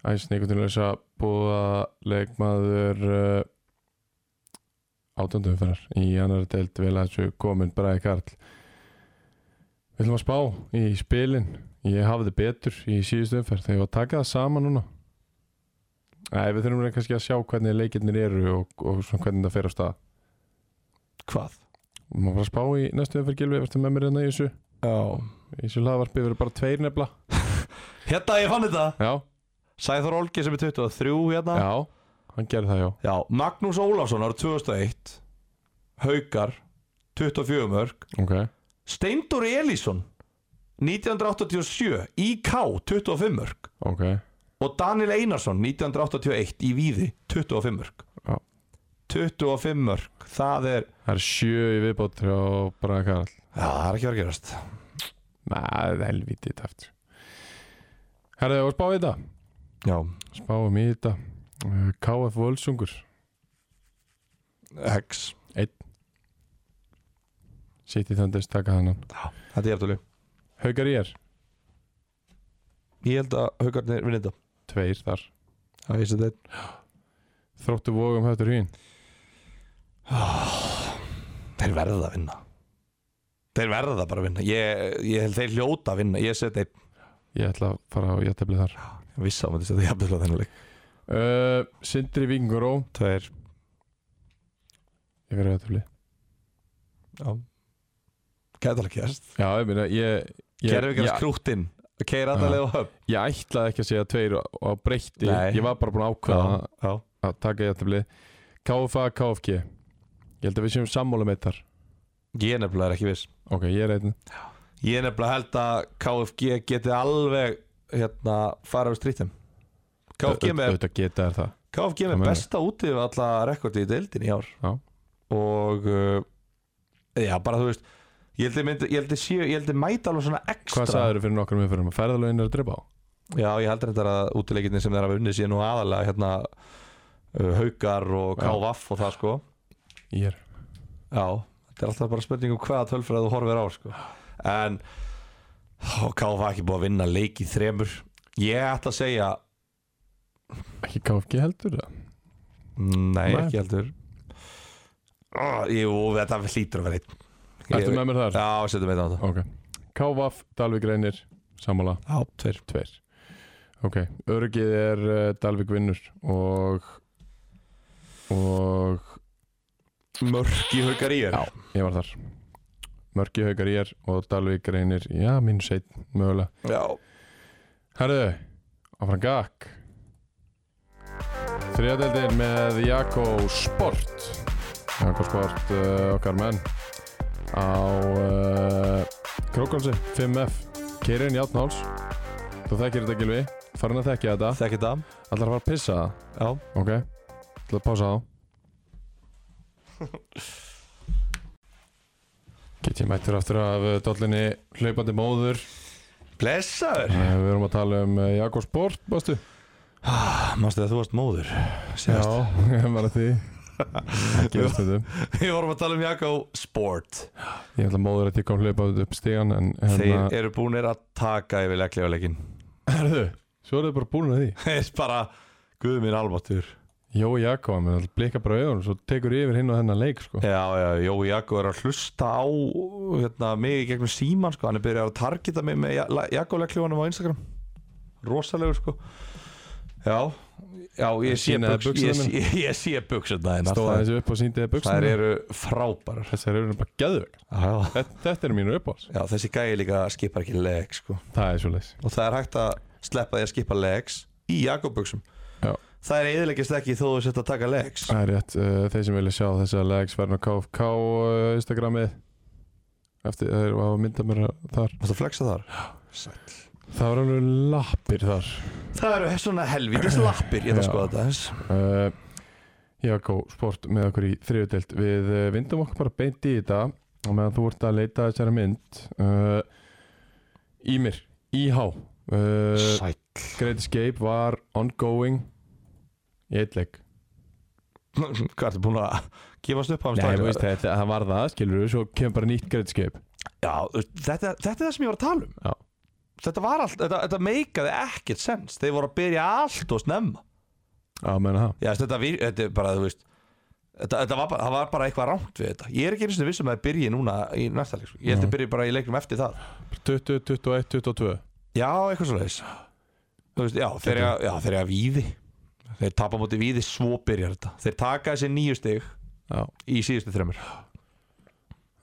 A: Æs Nikotinlösa Búða leikmaður uh, Átönduferðar Í annar deild vel að þessu komin Bræði Karl Við ætlum að spá í spilin Ég hafði betur í síðustu umferð Þegar ég var að taka það saman núna Nei, við þurfum kannski að sjá hvernig leikirnir eru og, og svona hvernig það fer af stað
B: Hvað?
A: Við má bara spá í næstu umferð gilvi Vertu með mér hérna í þessu
B: Já.
A: Í þessu laðvarpi verður bara tveir nefla
B: Hérna ég fann þetta
A: Já,
B: Sæþór Olgi sem er 23 hérna
A: já, hann gerði það já
B: Já, Magnús Ólafsson árið 2001 Haukar 24 mörg
A: Ok,
B: Steindur Elísson 1987 IK 25 mörg
A: ok
B: og Daniel Einarsson 1981 í Víði 25 mörg
A: Já.
B: 25 mörg það er
A: Það er sjö í viðbótt frá Braga Karl
B: Já, það er ekki verið að gerast
A: Nei, það er helvítið tæft Herðu, og spá í þetta
B: Já,
A: Spáum í þetta Uh, KF Völsungur
B: Hex
A: City Thunders, taka þannan
B: Já, þetta er eftirli
A: Haukar í er,
B: Ég held að Haukarnir vinni þetta
A: tveir þar
B: Já, ég sé þetta
A: Þróttu um vógum höftur hýn
B: Þeir verða að vinna Þeir verða bara að vinna Ég, ég held þeir hljóta að vinna Ég set einn
A: Ég ætla að fara á jættefli þar
B: Ég vissi á að þetta er jafnilega þennan leik
A: uh, Sindri Vingur Ó
B: Tveir
A: Ég verður jættefli
B: Já Gæti alveg kjæst
A: Já, ég meina, ég Ég,
B: Gerðu ekki að
A: ég,
B: skrúttinn Keir alla
A: Já.
B: leið og höf
A: ég ætlaði ekki að segja tveir og, og breytti
B: Nei.
A: Ég var bara búin að ákveða
B: já
A: að taka jættefli KFA, KFG ég held að við séum sammála með þar
B: Ég er nefnilega er ekki viss
A: ok, ég er einn
B: Ég er nefnilega held að KFG geti alveg Hérna fara við strítum KFG með
A: auðvitað geta þær það
B: KFG
A: Hvað
B: með
A: meinar?
B: besta úti við alla rekordi í deildin í ár
A: Já.
B: og uh, já, bara þú veist ég held ég myndi, ég held ég séu, ég held ég mæta alveg svona ekstra
A: hvað sagður fyrir nokkrum umfyrum að ferðalögin er að drepa á
B: Já, ég heldur þetta að útileikinni sem þeir hafa unnið sér nú aðalega hérna uh, haukar og
A: Já.
B: kávaff og það sko
A: ég er
B: Já, þetta er alltaf bara spurning um hvaða tölfræð þú horfir á sko en kávaff ekki búið að vinna leik í þremur ég ætla að segja
A: ekki KFG heldur það
B: Nei,
A: Nei.
B: ekki heldur oh, Jú, þetta hlýtur að vera einn
A: ertu
B: Ég-
A: með mér þar
B: Já, setjum við þetta
A: ok KVF, Dalvik reynir sammála
B: Já, tveir
A: tveir ok, örgið er uh, Dalvik vinnur eh, og og
B: Mörk í haukar í
A: Já. ég var þar Mörki haukar ég er og Dalvík reynir já, mínus einn mögulega
B: Já.
A: Herðu, áfram gakk Þriðadeldin með Jakko Sport Jakko Sport, uh, okkar menn á uh, Krókalsi, 5F Keirinn Játnáls þú þekkir þetta Gilvi, farin að þekkja þetta
B: Þekki það
A: allar að fara að pissa það,
B: Já.
A: ok ætla að pása þá get ég mættur aftur af uh, dollinni hlaupandi móður
B: Blessaður
A: Eh, Við erum að tala um eh, Jakob Sport, bástu?
B: Mástu að þú varst móður
A: Já,
B: Síðast.
A: ég var að því Gerist þetta
B: Við vorum að tala um Jakko Sport
A: Ég ætla móður að ég kom hlaupað upp stígan En hérna,
B: Þeir eru búinir að taka yfir leiklegaleikin
A: herðu, svo eru þau bara búin að því
B: Þeir bara Guð minn almáttur
A: Jói Jakob, hann blika bara auðan Svo tekur yfir hinn og hennan leik, sko
B: Já, já, Jói Jakko er að hlusta á hérna, mig í gegnum síman sko. hann er byrjað að targeta mig með Jakko leikleganum á Instagram Rosalegur sko Já, já ég sé
A: Sýna þér
B: buxur- ég
A: buxurnar
B: sé- ég sé buksuna
A: Stóð
B: þínar
A: aðeins upp og síndi þið
B: Það
A: buksinu
B: eru frábærar
A: Þessar eru bara geðvögg
B: Já,
A: þetta, þetta er mínu uppáls
B: Já, þessi gæi líka skipar ekki leg sko.
A: Það er svo leis
B: og það er hægt að sleppa því að skipa legs í Jakobbuksum
A: Já.
B: Það er eðilegist ekki þó þú sett að taka legs
A: Það er rétt, uh, þeir sem vilja sjá þessa legs Verðin á KFK uh, Instagramið Eftir, þeir var að mynda mér þar
B: Mástu að flexa þar
A: Það var alveg lappir þar
B: Það eru svona helvítis lappir ég ætla að
A: Já.
B: skoða þetta aðeins.
A: uh, Jakko Sport með okkur í þriðutelt við uh, vindum okkur bara beint í þetta og meðan þú ert að leita að þessari mynd uh, Ímir Íhá uh,
B: Sæll
A: Great Escape var ongoing í eitt leik
B: Hvað ertu búin að gefast upp á hann
A: Nei,
B: strax?
A: þú veist, þetta, það var það, skilur við svo kemur bara nýtt Great Escape
B: Já, þú veist, þetta, þetta er það sem ég var að tala um
A: Já.
B: Þetta var allt, þetta, þetta meikaði ekkert sens Þeir voru að byrja allt og snemma
A: á meðan það
B: Já, þetta, vir, þetta er bara, þú veist Þetta, þetta var, bara, það var bara eitthvað rámt við þetta Ég er ekki eins og vissum um að það byrji núna í næsta leik sko. Ég held að
A: Nei.
B: byrji bara í leiknum eftir það
A: 20, 21, 22
B: Já, eitthvað svo leiðis veist, Já, þeir
A: Getur.
B: eru að, að víði Þeir tapa móti víði svo byrjar þetta Þeir taka þessi nýju stig
A: Já,
B: í síðustu þremur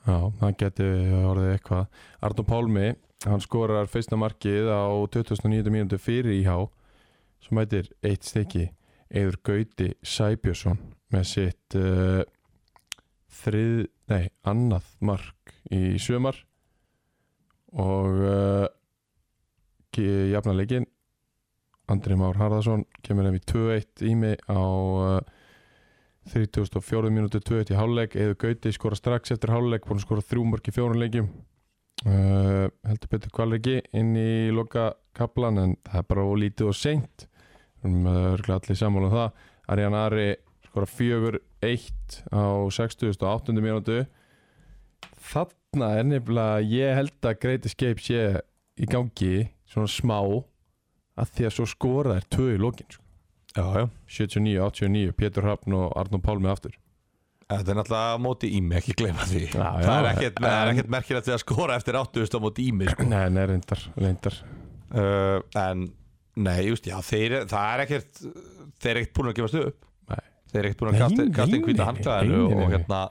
A: já það geti orðið eitthvað Arnur Pálmi, hann skorar fyrsta markið á 2009. mínútu fyrir Íhá sem heitir eitt stykki Eður Gauti Sæbjörnsson með sitt uh, þrið, nei, annað mark í sömar og uh, jafna leikinn Andri Már Harðarsson kemur nefn í 2-1 ími á uh, 34 minútu 2-1 í hálfleik Eður Gauti skora strax eftir hálfleik búin að skora þrjú mörk í fjórun leikjum uh, heldur betur kvalriki inn í loka kaplan en það er bara lítið og seint um örglega allir sammála um það Arjan Ari skora fjögur eitt á 60.8. mínútu þarna er nefnilega ég held að Great Escape sé í gangi svona smá að því að svo skora er tvö í lokin sko.
B: Já, já
A: 79, 89, Pétur Hrafn og Arnum Pálmi aftur
B: Þetta er náttúrulega á móti ími, ekki gleyma því
A: Já, já.
B: Það er ekkert, það er
A: En-
B: ekkert merkilegt við að skora eftir áttuðust á móti ími sko.
A: Nei, nei, reyndar, reyndar
B: uh, En, nei, just, já, þeir, það er ekkert Þeir eru ekkert búin að gefast upp
A: Nei.
B: Þeir eru ekkert búin að
A: Nei,
B: kasta, kasta inn
A: nei,
B: hvita
A: nei,
B: handklæðinu
A: nei, nei,
B: Og
A: nei.
B: hérna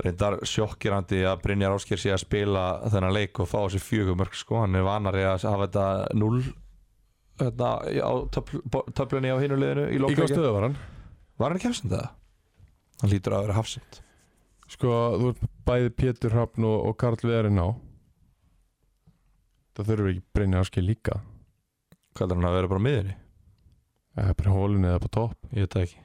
B: reyndar sjokkirandi að Brynjar Ásker sé að spila þennan leik og fá þessi fjögumörk sko, hann er vanari að hafa þetta 0 hérna, á töfl, töflunni á hinuleginu
A: Í
B: í
A: hvað
B: lokleikinu
A: stöðu var hann?
B: Var hann ekki hafsind það? Hann lítur að vera hafsind
A: Sko, þú ert með bæði Pétur Hrafn og, og Karl Veðurinn á Það þurfum við ekki Brynja Áskei líka
B: Hvað er hann að vera bara á miðinni?
A: Það er bara hólun eða på topp
B: Ég veit það ekki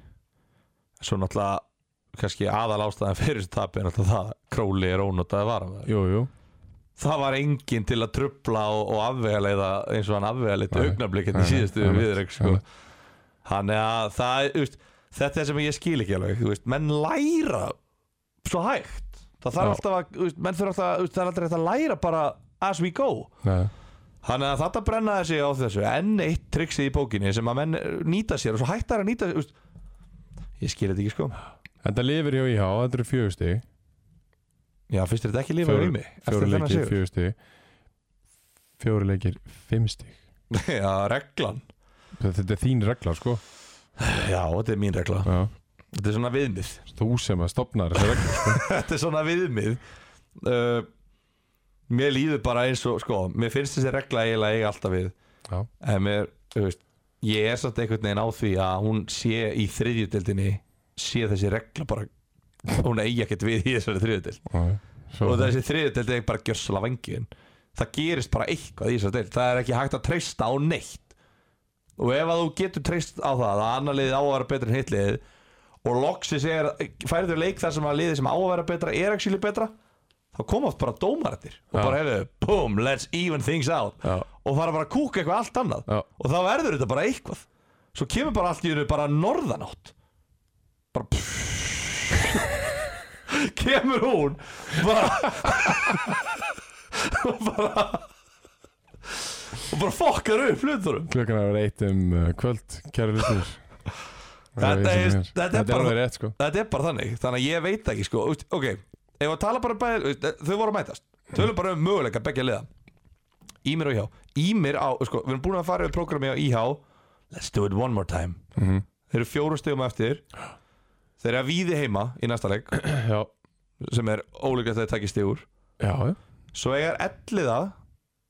B: Svo náttúrulega kannski aðal ástæðan fyrir þessu tapi er náttúrulega það að Króli er ónotaði varamæður
A: Jú, jú,
B: Það var enginn til að trubla og, og afvegaleiða eins og hann afvegaleiði
A: Nei,
B: augnablikinn í
A: nei,
B: síðustu
A: nei, nei,
B: viðreik sko. Þannig að það, þú veist, þetta er sem ég skil ekki alveg þú veist, menn læra svo hægt það þarf
A: Já.
B: alltaf að, þú veist, menn þurfa alltaf að, þú veist, það er alltaf hægt að læra bara as we go
A: Nei.
B: Þannig að þetta brennaði sig á þessu enn eitt triksi í bókinni sem að menn eh, nýta sér og svo hættar að nýta sér úst. Ég skil þetta ekki sko
A: Þetta lifir hjá IH, þetta eru fjögusti
B: Já, fyrst er þetta ekki lífið í mig Eftir
A: Fjóri
B: þennan
A: leikir,
B: sigur
A: fjögusti Fjóri leikir, fimmsti
B: Já, reglan
A: Þetta er þín regla, sko
B: Já, þetta er mín regla
A: Já,
B: Þetta er svona viðmið
A: Þú sem að stopnar þessar reglur sko.
B: Þetta er svona viðmið uh, Mér líður bara eins og sko, Mér finnst þessi regla eiginlega eiga alltaf við
A: Já,
B: En mér, þú veist Ég er samt einhvern veginn á því að hún sé í þriðjudeldinni Sé þessi regla bara Hún eigi ekkert við í þessari þriðjudeld
A: já, já. Svo,
B: Og þessi þriðjudeld er bara gjörsala vangin Það gerist bara eitthvað í þessari deild Það er ekki hægt að treysta á neitt Og ef að þú getur treyst á það Að annar liðið á að vera betra en hitt liðið Og loksis er Færið þau leik þar sem að liðið sem á að vera betra Er actually betra Þá koma oft bara dómaratir Og
A: Já.
B: bara hefðu, boom, let's even things out
A: Já.
B: Og fara bara að kúka eitthvað allt annað
A: Já.
B: Og þá verður þetta bara eitthvað Svo kemur bara allt í hennu bara norðanátt Bara kemur hún bara og bara og bara fokkar upp hlutunum
A: Klukkan er að vera eitt um uh, kvöld Kæra hlustur
B: Þetta er- þetta er
A: Þetta er
B: bara-
A: alveg rétt sko
B: þetta er bara þannig, þannig að ég veit ekki sko, Úst, ok, ef að tala bara um bæði, úst, þau voru að mætast, tölum bara um möguleika begja liða, Ímir og IH Ímir á, sko, við erum búin að fara við programmi á IH, let's do it one more time
A: Mhm.
B: þeir eru fjórum stegum eftir þeir eru að víði heima í næsta leik,
A: Já,
B: sem er ólíklegt að þeir takist í úr
A: já, já
B: Svo eigar elliða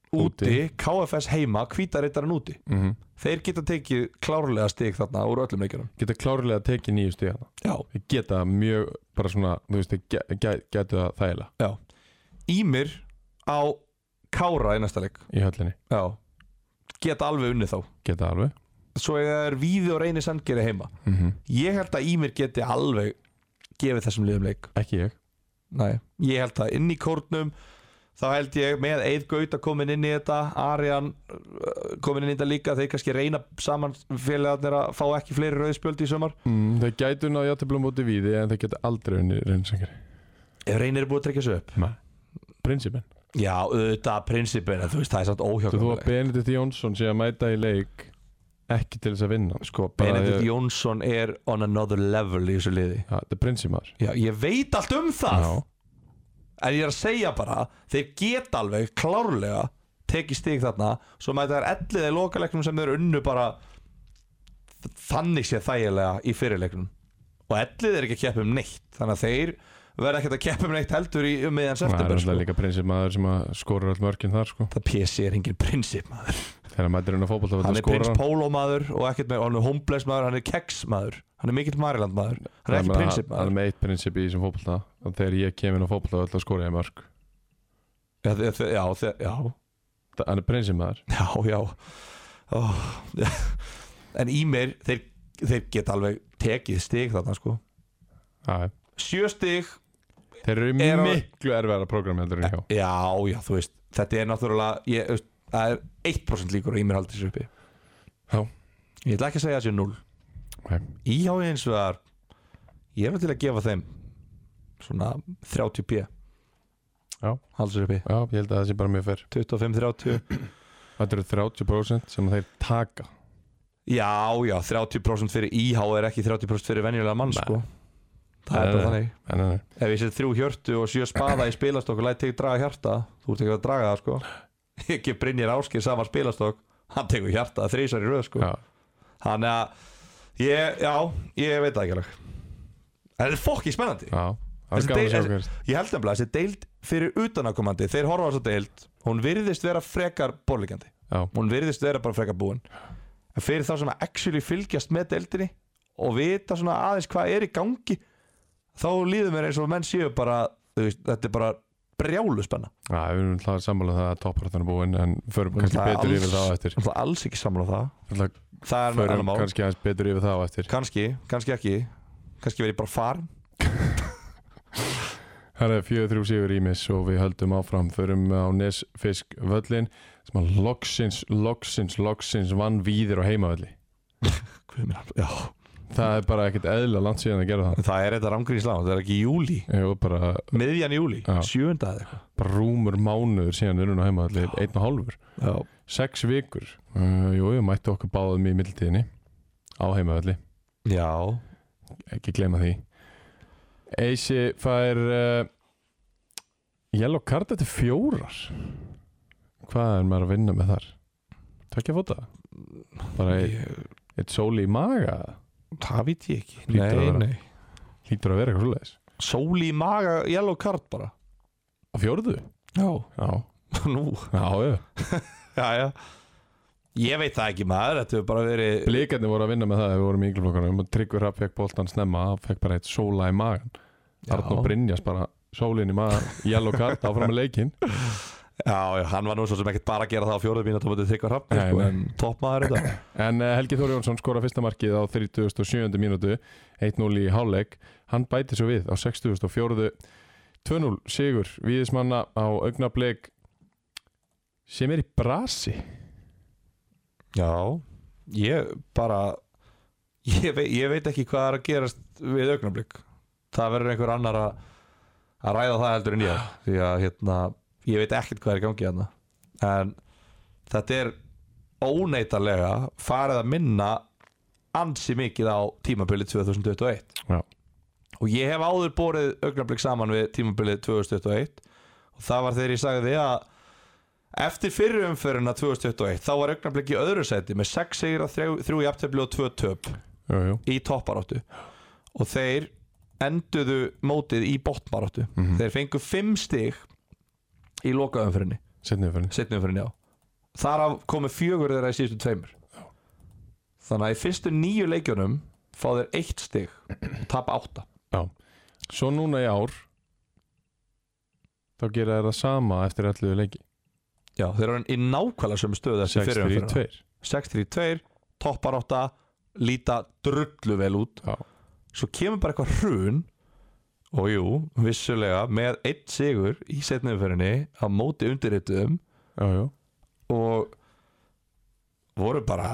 B: úti,
A: Úti.
B: KFS heima, hvítarittarinn úti
A: mm
B: Þeir geta tekið klárlega stig þarna úr öllum leikjunum
A: Geta klárlega að teki nýju stíðana
B: Já,
A: Ég geta mjög bara svona Þú veist, ég ge- ge- getu það þægilega
B: já Ímir á Kára í næsta leik
A: Í höllinni
B: Já Geta alveg unnið þá
A: Geta alveg
B: Svo eiga er Víði og Reyni Sandgeri heima
A: mm
B: Ég held að Ímir geti alveg gefið þessum liðum leik
A: Ekki ég
B: Nei, ég held að inn í kórnum þá held ég með Eid Gauta komin inn í þetta Arjan uh, komin inn í þetta líka þeir kannski reyna saman félagarnir að fá ekki fleiri rauðspjöldi í sumar
A: mm, Þeir gætu náðu játtöflum móti víði En þeir geta aldrei unni reynsengri
B: ef reynir er búið að tryggja sig upp
A: Prinsipin
B: Já, auðvitað prinsipin, en þú veist, það er
A: Þú
B: samt
A: þú að
B: óhjákvæmlega
A: Benedikt Jónsson sé að mæta í leik Ekki til þess að vinna
B: Sko,
A: bara
B: Benedikt
A: ég-
B: Jónsson er on another level í þessu liði
A: Já, þetta er prinsipar
B: Já, ég veit allt um það
A: Já,
B: En ég er að segja bara, þeir geta alveg klárlega tekið stig þarna Svo maður þetta er ellið í lokaleiknum sem þeir unnu bara Þannig sé þægilega í fyrirleiknum Og ellið er ekki að keppa um neitt Þannig að þeir verða ekkert að keppa um neitt heldur í um miðjan
A: það er
B: september
A: alltaf
B: sko.
A: líka prinsipmaður sem að skorur all mörkin þar sko
B: Það PC er engin prinsip maður
A: Þegar mætir hann á fótbolta
B: Hann
A: það
B: er prins
A: skorar
B: Pólo maður og ekkert með Hann er homeless maður, hann er keks maður Hann er mikill Mariland maður Hann er
A: Hann
B: ekki
A: Hann
B: prinsip
A: er
B: maður
A: með eitt prinsip í þessum fótbolta að Þegar ég kem inn á fótbolta þá ætla að skora ég mörk
B: Já, þe- þe- já, þe- já,
A: Það- Hann er prinsipmaður
B: Já, já Ó, En í mér þeir, þeir geta alveg tekið stig þarna sko
A: Já,
B: Sjö stig
A: Þeir eru
B: Er á-
A: miklu erfæra program heldur en hjá
B: Já, já, þú veist Þetta er náttúrulega ég, veist, Það er 1% líkur að í mér haldi þessu uppi
A: Já.
B: Ég ætla ekki að segja þessu 0
A: Nei.
B: Íhá eins vegar Ég er nú til að gefa þeim Svona 30 p
A: Já.
B: Haldi þessu uppi
A: Já, ég held að það sé bara mjög fyrr
B: 25-30
A: Þetta eru 30% sem þeir taka
B: Já, já, 30% fyrir íhá er ekki 30% fyrir venjulega mann
A: Nei.
B: sko Það er bara
A: Nei, nei.
B: þannig
A: En, en, en.
B: Ef ég set þrjú hjörtu og sjö spaða í spilastokk og læt þig draga hjarta, þú ert ekki að draga það sko Ég gef Brynjar Áskir sama spilastokk hann tekur hjarta þrísar í röð sko
A: Já,
B: Þannig að ég, já, ég veit það ekki alveg En þetta er fokki spennandi
A: já Það er
B: Þessi
A: gaman að
B: dei-
A: sjá hver
B: Ég held nefnilega að þessi deild fyrir utanakomandi þeir horfa á þessu deild, hún virðist vera frekar borlíkandi,
A: Já,
B: hún virðist vera bara frekar búin En fyrir þá sem að actually fylgjast með deildinni og vita svona aðeins hvað er í gangi þá líður mér eins og menn séu bara þú veist, þetta er bara brjálu spenna
A: já, við erum alltaf sammála um það að topparáttan er búin en förum kannski
B: Það er
A: betur
B: alls-
A: yfir það á eftir
B: Það er alls ekki sammála um það
A: Alltaf
B: Það er með annar
A: förum
B: mál
A: kannski aðeins betur yfir það á eftir
B: Kannski, kannski ekki Kannski verið bara farin
A: Það er 4-3 sigur ímis og við höldum áfram förum á Nesfisk völlin sem að loksins, loksins, loksins vann víðir á heimavölli
B: Guð minn alveg- Já.
A: Það er bara ekkert eðla langt síðan að gera það
B: Það er þetta rámgrínsláð, það er ekki í júli
A: Ég var bara,
B: Miðjan júli,
A: Já.
B: sjöunda eða eitthvað
A: bara rúmur mánuður síðan við erum á heimavölli, einn og hálfur
B: Já.
A: Sex vikur, uh, jú, við mættu okkur báðum í mildtíðinni á heimavölli,
B: Já
A: ekki gleyma því Eisi fær uh, eh, Yellow card þetta er fjórar Hvað er maður að vinna með þar? Tvekja fóta? Bara eitt
B: Ég-
A: sóli í maga?
B: Það veit ég ekki
A: Hlýtur að vera.
B: nei
A: Lítur að vera eitthvað svoleiðis
B: Sóli í maga, yellow card bara
A: Á fjórðu?
B: Já,
A: Já,
B: nú
A: já, já
B: já, já. Ég veit það ekki maður, þetta hefur bara verið
A: Blikarnir voru að vinna með það þegar við vorum í yngleflokkanum og Tryggvi Rapp fekk boltan snemma hann fekk bara eitt sóla í magan Arnó Brynjas bara sólin í magan yellow card áfram með leikinn
B: Já, já, hann var nú svo sem ekkert bara að gera það á fjóruðu mínu tómatið þykka hrafni,
A: Nei,
B: sko,
A: nei.
B: en toppmaður þetta
A: En eh, Helgi Þóri Jónsson skora fyrsta markið á 37. mínútu 1-0 í hálfleik hann bæti svo við á 64. 2-0 sigur viðismanna á augnablik sem er í brasi
B: Já, ég bara ég, vei, ég veit ekki hvað er að gerast við augnablík það verður einhver annar að, að ræða það heldur en ég því að hérna, ég veit ekkert hvað er í gangi hérna en þetta er óneitarlega farið að minna ansi mikið á tímabilið 2021
A: Já.
B: og ég hef áður borið augnablík saman við tímabilið 2021 og það var þegar ég sagði því að Eftir fyrri umferðina 2021 þá var augnablik í öðru seti með 6 sigra, 3 jafntefli og 2 töp
A: jú, jú.
B: í topparáttu og þeir enduðu mótið í botnbaráttu þeir fengu 5 stig í lokaumferðinni,
A: setnið fyrir
B: setni umferðinni á þar af komu fjögur þeirra í síðustu tveimur þannig að í fyrstu nýju leikjunum fá þeir 1 stig og tapa 8
A: Svo núna í ár þá gera þeir það sama eftir allu leiki
B: Já, þeir eru í nákvæmlega sömu stöðu eftir fyrri umferðina
A: 6-3-2
B: 6-3-2, topparátta líta drullu vel út
A: Já.
B: svo kemur bara eitthvað hrun og jú, vissulega með eitt sigur í setnumferðinni á móti undirrituðum
A: Já, já.
B: og voru bara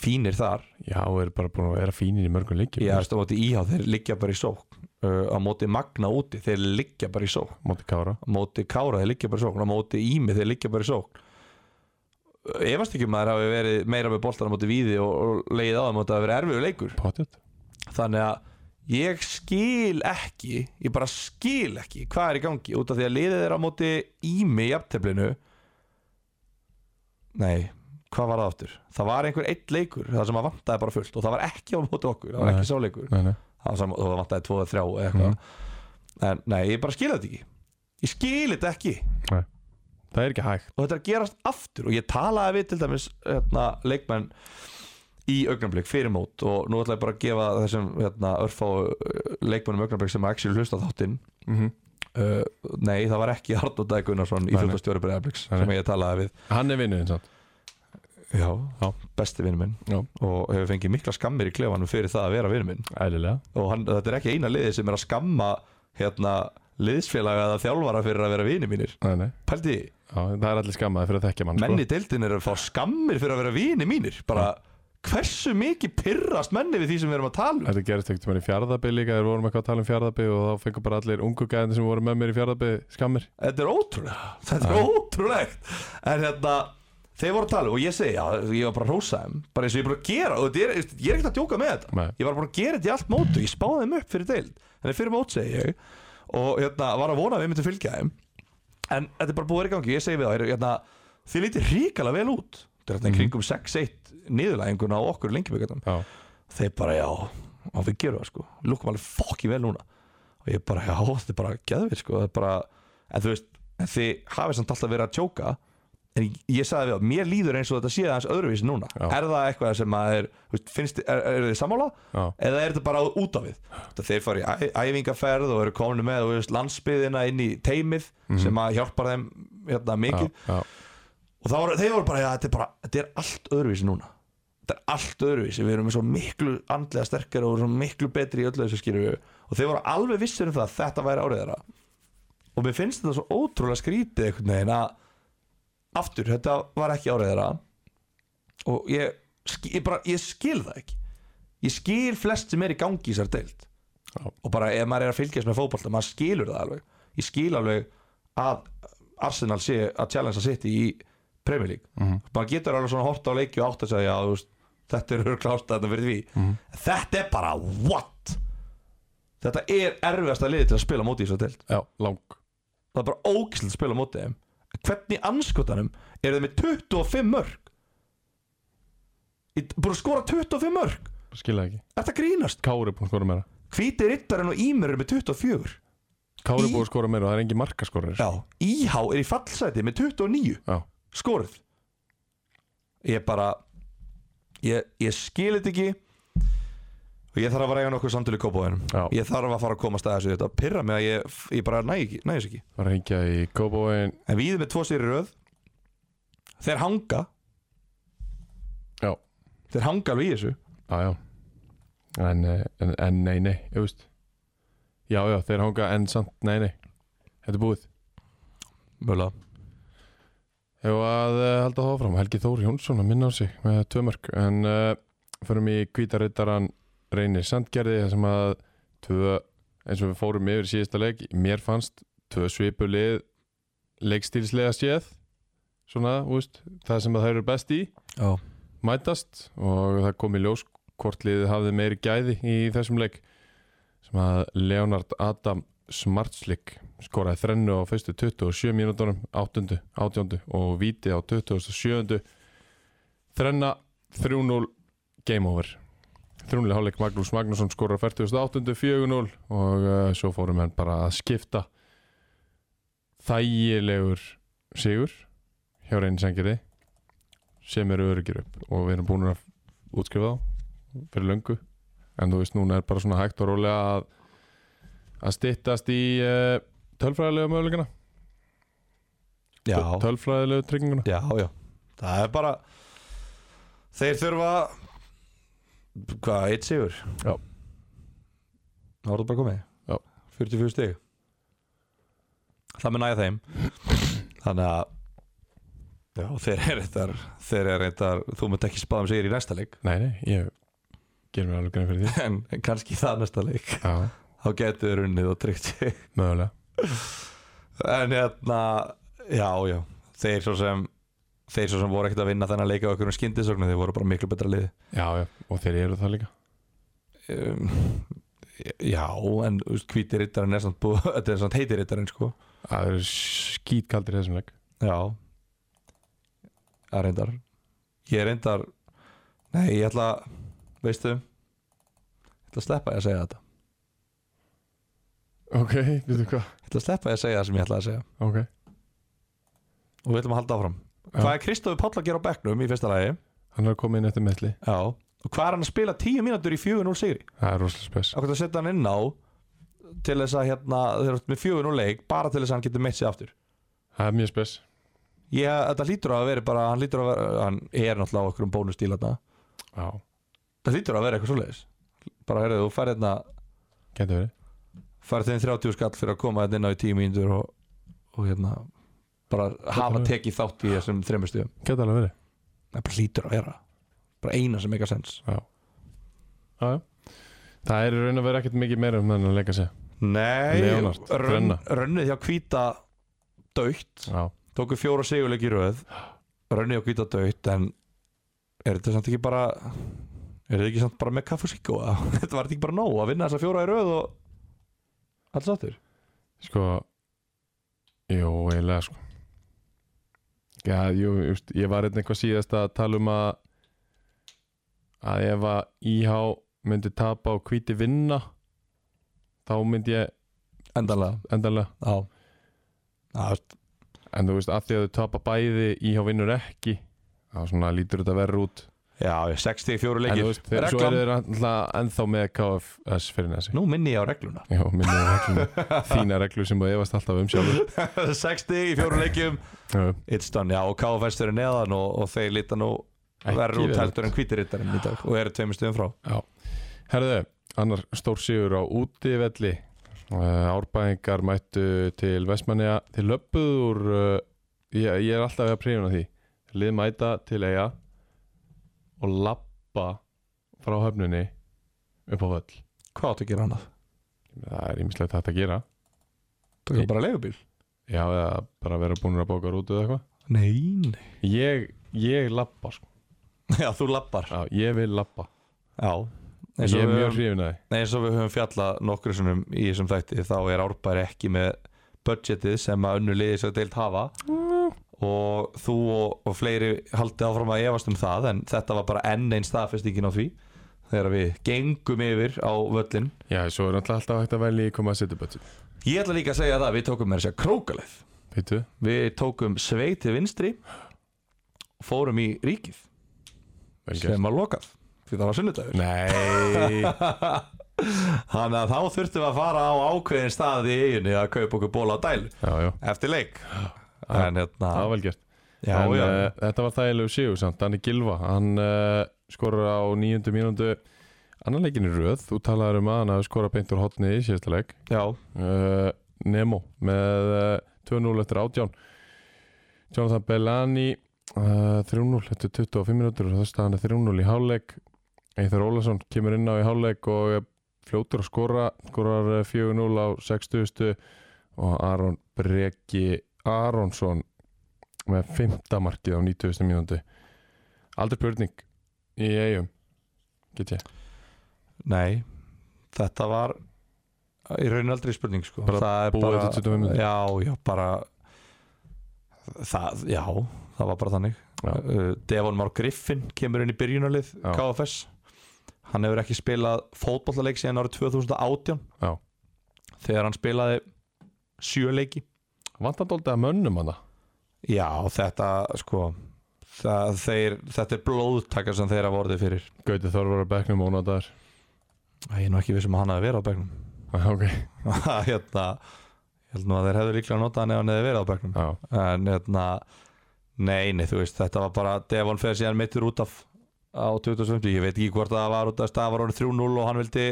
B: fínir þar
A: Já, og eru bara búin að vera fínir í mörgum leikjum
B: ég erst á móti íhá, þeir liggja bara í sók uh, á móti magna úti, þeir liggja bara í sók
A: Móti Kára
B: á móti kára, þeir liggja bara í sók á móti ími, þeir liggja bara í sók efast ekki um að þeir hafi verið meira með boltar á móti víði og, og leið á þeim að það hafi verið erfiður leikur
A: Pottet
B: þannig að ég skil ekki ég bara skil ekki hvað er í gangi út af því að liðið er á móti ími í afteflinu nei, hvað var það aftur það var einhver eitt leikur það sem að vantaði bara fullt og það var ekki á móti okkur það var
A: Nei.
B: ekki sáleikur
A: Nei, nei
B: það var sem, það vantaði 2 eða 3 eða eitthvað en nei, ég bara skil þetta ekki ég skil þetta ekki
A: Það er ekki hægt
B: og þetta er að gerast aftur og ég talaði við til dæmis hérna, leikmenn í augnablik fyrir mót og nú ætla ég bara að gefa þessum hérna, örfá leikmennum augnablik sem að ekki hlusta á þáttinn uh, nei það var ekki Arnó Dæk Gunnarsson
A: Mhm.
B: í
A: Nei, nei.
B: fjóttastjóri breyðabliks
A: Nei, nei.
B: sem ég talaði við
A: Hann er vinnuðin samt
B: já,
A: Já.
B: besti vinnur minn
A: Já.
B: og hefur fengið mikla skammir í klefanum fyrir það að vera vinnur minn
A: Ælilega
B: og hann, þetta er ekki eina liði sem er að skamma hérna, liðsfélaga eða þjálfara fyrir að vera vinnir mínir
A: Nei, nei
B: pældi því
A: Já, það er allir skammaði fyrir að þekkja mann sko.
B: menn í deildin eru að fá skammir fyrir að vera vini mínir bara hversu mikið pyrrast menni við því sem við erum að tala um
A: Þetta gerist ekkert mér í fjárðabi líka Þegar vorum eitthvað að tala um fjárðabi Og þá fengur bara allir ungu gæðin sem voru með mér í fjárðabi skammir
B: þetta er ótrúlega þetta er ótrúlegt en hérna þeir voru að tala um, og ég segi já ég var bara að rósa þeim bara eins og ég er bara að gera og þetta er, ég er ekkert að djóka með þetta
A: Nei.
B: ég var bara að gera þetta í allt mótu ég spáði þeim upp fyrir deild en fyrir mót segi ég og hérna var að vona að við myndum fylgja þeim en þetta er bara búið að vera í gangi ég segi við það hérna, þið lítið ríkala vel út þetta er hérna í kringum 6-1 niðurlæðinguna á okkur lengjaböggjardam
A: Já,
B: þeir bara já og við gerum það sko, lúkum alveg fokki vel núna og ég bara já, þetta er bara geðvið sko, það er bara, en þú veist en þið hafið samt alltaf verið að tjóka en ég sagði við á, mér líður eins og þetta sé aðeins öðruvísi núna,
A: Já.
B: er það eitthvað sem að er, þú veist, finnst, er, er þið sammála
A: já,
B: eða er þetta bara út af við það þeir fara í æ- æfingaferð og eru kominu með þú veist, landsbyðina inn í teimið sem að hjálpar þeim
A: Mhm.
B: hérna,
A: já,
B: mikið
A: já.
B: og það voru, þeir voru bara, já, þetta er bara þetta er allt öðruvísi núna þetta er allt öðruvísi, við erum með svo miklu andlega sterkari og svo miklu betri í öllu þessu skýru og þeir voru alveg vissir um það að þetta væri árið þeirra og mér finnst þetta svo ótrúlega skrítið einhvern veginn að aftur, þetta var ekki árið þeirra og ég, sk- ég bara ég skil það ekki ég skil flest sem er í gangi í þessar deild
A: Já.
B: og bara ef maður er að fylgjast með fótbolta maður skilur það alveg ég skil alveg að Arsenal sé að challenge að sitt í Premier League maður getur alveg svona horta á leiki og átt að segja já, þú veist, þetta er örglást þetta fyrir því þetta er bara what þetta er erfiðasta liði til að spila á móti í svo deild
A: já lang
B: það er bara ógæslega að spila á móti þeim hvernig anskotanum eru þið með 25 mörg búin að skora 25 mörg
A: Skilja ekki
B: þetta grínast
A: Kári er búin að skora meira
B: Hvíti rittarinn og Ímur eru með 24
A: Kári
B: Í-
A: búið að skora meira og það er engin sko. markaskorur
B: Já Íhá er í fallseti með 29
A: Já.
B: Skorð Ég bara Ég, ég skil þetta ekki Og ég þarf að vera að eiga nokkuð samtölu í kópáðinum
A: Já.
B: Ég þarf að fara að komast að þessu Þetta pyrra mig að ég, ég bara næ ekki- næ þess ekki
A: Það er hengja í Kóbóin
B: En við með tvo sér í röð Þeir hanga
A: Já.
B: Þeir hanga alveg í þessu
A: Já, já En, eh, en, en nei, nei, ég veist Já, já, þeir hanga en samt, nei, nei Þetta er búið
B: Mögulega
A: Hefur að uh, halda það áfram Helgi Þór Jónsson að minna á sig með tvö mörg En uh, förum í kvítarrittaran Reynir Sandgerði þar sem að tvö, eins og við fórum yfir í síðasta leik Mér fannst tvö svipulið leikstílslega séð Svona, þú veist, það sem að þær eru best í
B: Já
A: mætast og það kom í ljós hvort liðið hafði meiri gæði í þessum leik sem að Leonard Adam Smartslik skoraði þrennu á fyrstu 27 mínútonum 8. 18. og víti á 27. þrenna 3-0 game over þrjúnlega hálfleik Magnús Magnússon skorar á 48. 4-0 og uh, svo fórum henn bara að skipta þægilegur sigur hjá reyni sengiði sem eru öryggir upp og við erum búin að útskrifa þá fyrir löngu en þú veist núna er bara svona hægt og rólega að, að styttast í uh, tölfræðilegu möguleikana
B: Já
A: tölfræðilegu trygginguna
B: Já, já Það er bara Þeir þurfa Hvað, eitt sigur
A: Já.
B: Það voru bara komið
A: Já.
B: 44 stig Það með næja þeim Þannig að Já, þeir eru reyndar Þeir eru reyndar Þú munt ekki spáðum sigir í næsta leik
A: nei, nei, ég ger mér alveg grein fyrir því
B: En en kannski í það næsta leik
A: já,
B: Þá getur þeir unnið og tryggt sig
A: mögulega
B: En hérna, já, já Þeir svo sem Þeir svo sem voru ekkert að vinna þennan leika á einhverjum skyndisögnu Þeir voru bara miklu betra liði
A: já, já, og þeir eru það líka
B: um, Já, en þú veist, hvíti rittarinn er samt búið Þetta er samt heiti rittarinn, sko
A: það eru skítkaldir í þessum leik
B: Já Það reyndar Ég reyndar Nei, ég ætla, veistu Ég ætla að sleppa ég að segja þetta
A: ok, við þú hvað
B: Ég ætla að sleppa ég að segja það sem ég ætla að segja
A: ok,
B: Og við ætlum að halda áfram
A: Já.
B: Hvað er Kristofur Páll að gera á bekknum í fyrsta lagi?
A: hann er að koma inn eftir meðli
B: Já Og hvað er hann að spila 10 mínútur í 4-0 sigri?
A: það er rosalega spes
B: okkur að setja hann inn á til þess að hérna þeir eru með fjögun og leik bara til þess að hann getur meitt sig aftur
A: það er mjög spes
B: ég, þetta lítur að vera bara hann, lítur að vera, hann er náttúrulega á okkur um bónustíl þarna.
A: já,
B: það lítur að vera eitthvað svoleiðis bara heyrðu, þú færði hérna
A: getur verið
B: færði þeim 30 skall fyrir að koma þetta inn á í 10 mínútur og, og hérna bara hafa
A: alveg.
B: tekið þátt í þessum þreymur stíðum
A: getur alveg verið
B: það bara lítur að vera bara eina sem eitthvað sens
A: já, já það er í raun að vera ekkert mikið meira um þennan leik að segja
B: nei,
A: Leonard,
B: rönn,
A: þrenna.
B: rönnið hjá kvíta dautt
A: já
B: tóku fjóra sigurleik í röð rönni og hvita dött en er þetta samt ekki bara er þetta ekki samt bara með kaff og síkó þetta var þetta ekki bara nóg að vinna þessa fjóra í röð og alls áttur
A: Sko Jó, eiginlega sko Já, jú, just, ég var einhvern eitthvað síðast að tala um að að ef að IH myndi tapa og hvíti vinna þá myndi ég
B: endanlega
A: endanlega
B: já Já, veist,
A: en þú veist, af því að þau tapa bæði IH vinnur ekki þá svona lítur þetta verður út
B: já, ég- 60 fjóru
A: en
B: leikir
A: þú veist, þeir, svo
B: Reglan.
A: eru þeir alltaf ennþá með KFS fyrir næsi
B: nú minni ég á regluna
A: Jó, minni reglum, þína reglur sem þú efast alltaf um sjálfur
B: 60 í fjóru leikjum
A: Jú,
B: it's done, já, og KFS eru neðan og, og þeir líta nú
A: ekki
B: verður út
A: verið.
B: heldur en hvítirittarinn í dag og eru tveimur stöðum frá
A: Herðu, annar stór sigur á útivelli uh, Árbæðingar mættu til Vestmanneja til löpuð úr uh, ég, ég er alltaf að prífuna því Lið mæta til eiga og lappa frá höfnunni upp á völl
B: hvað áttu að gera annað?
A: Það er ýmislegt hægt að gera
B: tókum bara leigubíl?
A: Já, eða bara vera búinur að bóka rútu eða eitthvað
B: nei, nei
A: Ég, ég lappa sko
B: já, þú lappar
A: Já, ég vil lappa
B: já, eins
A: Ég
B: og
A: er
B: við
A: mjög
B: höfum
A: hrifin að því
B: Nei, eins og við höfum fjallað nokkru sinnum í þessum þætti þá er árbæri ekki með budgetið sem að önnu liði svo deilt hafa og þú og, og fleiri haldið áfram að efast um það en þetta var bara enn einn staðfestingin á því þegar við gengum yfir á völlin
A: Já, svo er náttúrulega alltaf hægt að velja í koma að setja böttu
B: Ég ætla líka að segja það, við tókum með þess að segja krókaleið
A: Veitu?
B: Við tókum sveit til vinstri og fórum í ríkið
A: Vel gert
B: sem var lokað því það var sunnudagur
A: Nei
B: Þannig að þá þurftum við að fara á ákveðin staði í eiginni að kaupa okkur bóla á dæl
A: Já, já,
B: eftir leik En hérna
A: það var vel gert
B: Já,
A: en,
B: já,
A: eh, þetta var þægilegu sigur samt, Danni Gilva hann uh, skorur á nýjöndu mínúndu annan leikin í röð, þú talaður um að hann hafi skorað beint úr hotni í síðasta leik
B: já
A: uh, Nemo með uh, 2-0 eftir 18 Jonathan Bellani uh, 3-0 eftir 25 minútur og það staðan er 3-0 í hálfleik Eithar Ólason kemur inn á í hálfleik og er fljótur að skora skorar eh, 4-0 á 60 og Aron Breki Aronsson með 5. markið á 90. mínúti aldrei spurning í eigum get ég
B: Nei, þetta var í raun aldrei spurning sko
A: Bara
B: Það er
A: búið eftir 25 mínútur.
B: Já, já, bara það, já, það var bara þannig
A: Já.
B: uh, Devon Már Griffin kemur inn í byrjunarlið
A: Já.
B: KFS Hann hefur ekki spilað fótballaleik síðan árið 2018
A: Já.
B: Þegar hann spilaði sjöleiki
A: vandandóldi að mönnum hana
B: Já, þetta sko það, þeir, þetta er blóðtaka sem þeir hafa orðið fyrir
A: Gauti Þorvar að bekknum ónadagur
B: Æ, Ég er nú ekki viss um að hann hafi verið á begnum
A: ok,
B: að, hérna, ég held nú að þeir hefðu líklega notað hann ef hann hefði verið á bekknum
A: já
B: en hérna, nei, nei, þú veist þetta var bara, Devon fer síðan meittur út af á 2050, ég veit ekki hvort það var út af stað var orðið 3-0 og hann vildi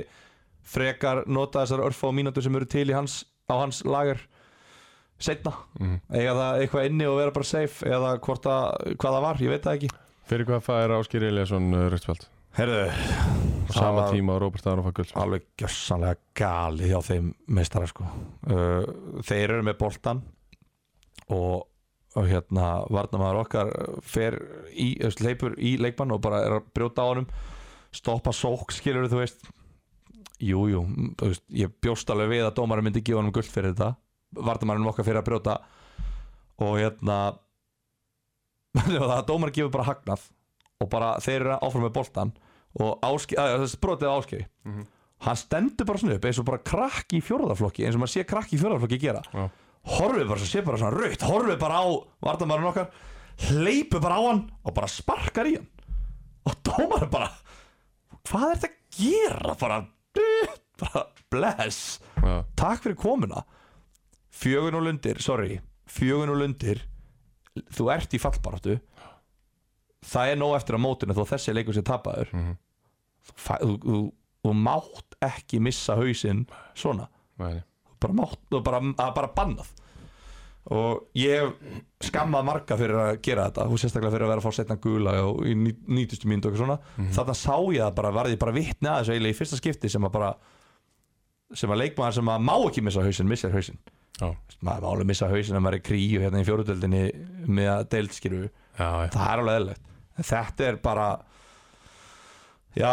B: frekar nota þessar örfa og mínútur sem eru til í hans, á hans lager setna,
A: Mhm.
B: eiga það eitthvað inni og vera bara safe eða hvort það, hvað það var, ég veit það ekki
A: Fyrir hvað fær Áskir Eliasson Röstfjöld?
B: Herðu,
A: Á sama
B: var-
A: tíma og Róbert Aron fær gull
B: alveg gjössanlega gali hjá þeim meistara sko uh, þeir eru með boltan og, og hérna varnamaður okkar uh, fer í, þú veist, leipur í leikmann og bara er að brjóta á honum stoppa sók skilur þú veist jújú, jú, mm, þú veist, ég bjóst alveg við að dómarinn myndi gefa honum gull fyrir þetta varnamaðurinn okkar fyrir að brjóta og hérna nema það að dómarinn gefur bara hagnað og bara þeir eru áfram með boltan og áski, að, þessi brotið áskei
A: Mhm.
B: hann stendur bara svona upp eins og bara krakki í fjórðaflokki eins og maður sé krakki í fjórðaflokki gera
A: Já.
B: horfið bara, sé bara svona raukt horfið bara á vartamarinn okkar hleypur bara á hann og bara sparkar í hann og dómar bara hvað er þetta að gera bara, bara bless
A: Já,
B: takk fyrir komuna fjögun og lundir, sorry fjögun og lundir þú ert í fallbaráttu það er nóg eftir að mótinu þó þessi leikur sér tapaður
A: Mhm.
B: þú, fæ- þú, þú, þú mátt ekki missa hausinn svona
A: nei, nei.
B: bara, mátt, þú bara, að bara bannað og ég hef skammað marga fyrir að gera þetta og sérstaklega fyrir að vera að fá setna gula og í ní- 90 mínútu og eitthvað svona þarna sá ég það bara, varði ég bara vitni að þessu eiginlega í fyrsta skipti sem að bara sem að leikmaður sem að má ekki missa hausinn missar hausinn,
A: Já,
B: Veist, maður má alveg missa hausinn að maður er í kríu hérna í fjóruðöldinni með að deildskirfu,
A: já, já.
B: það er alveg eðlilegt en þetta er bara já,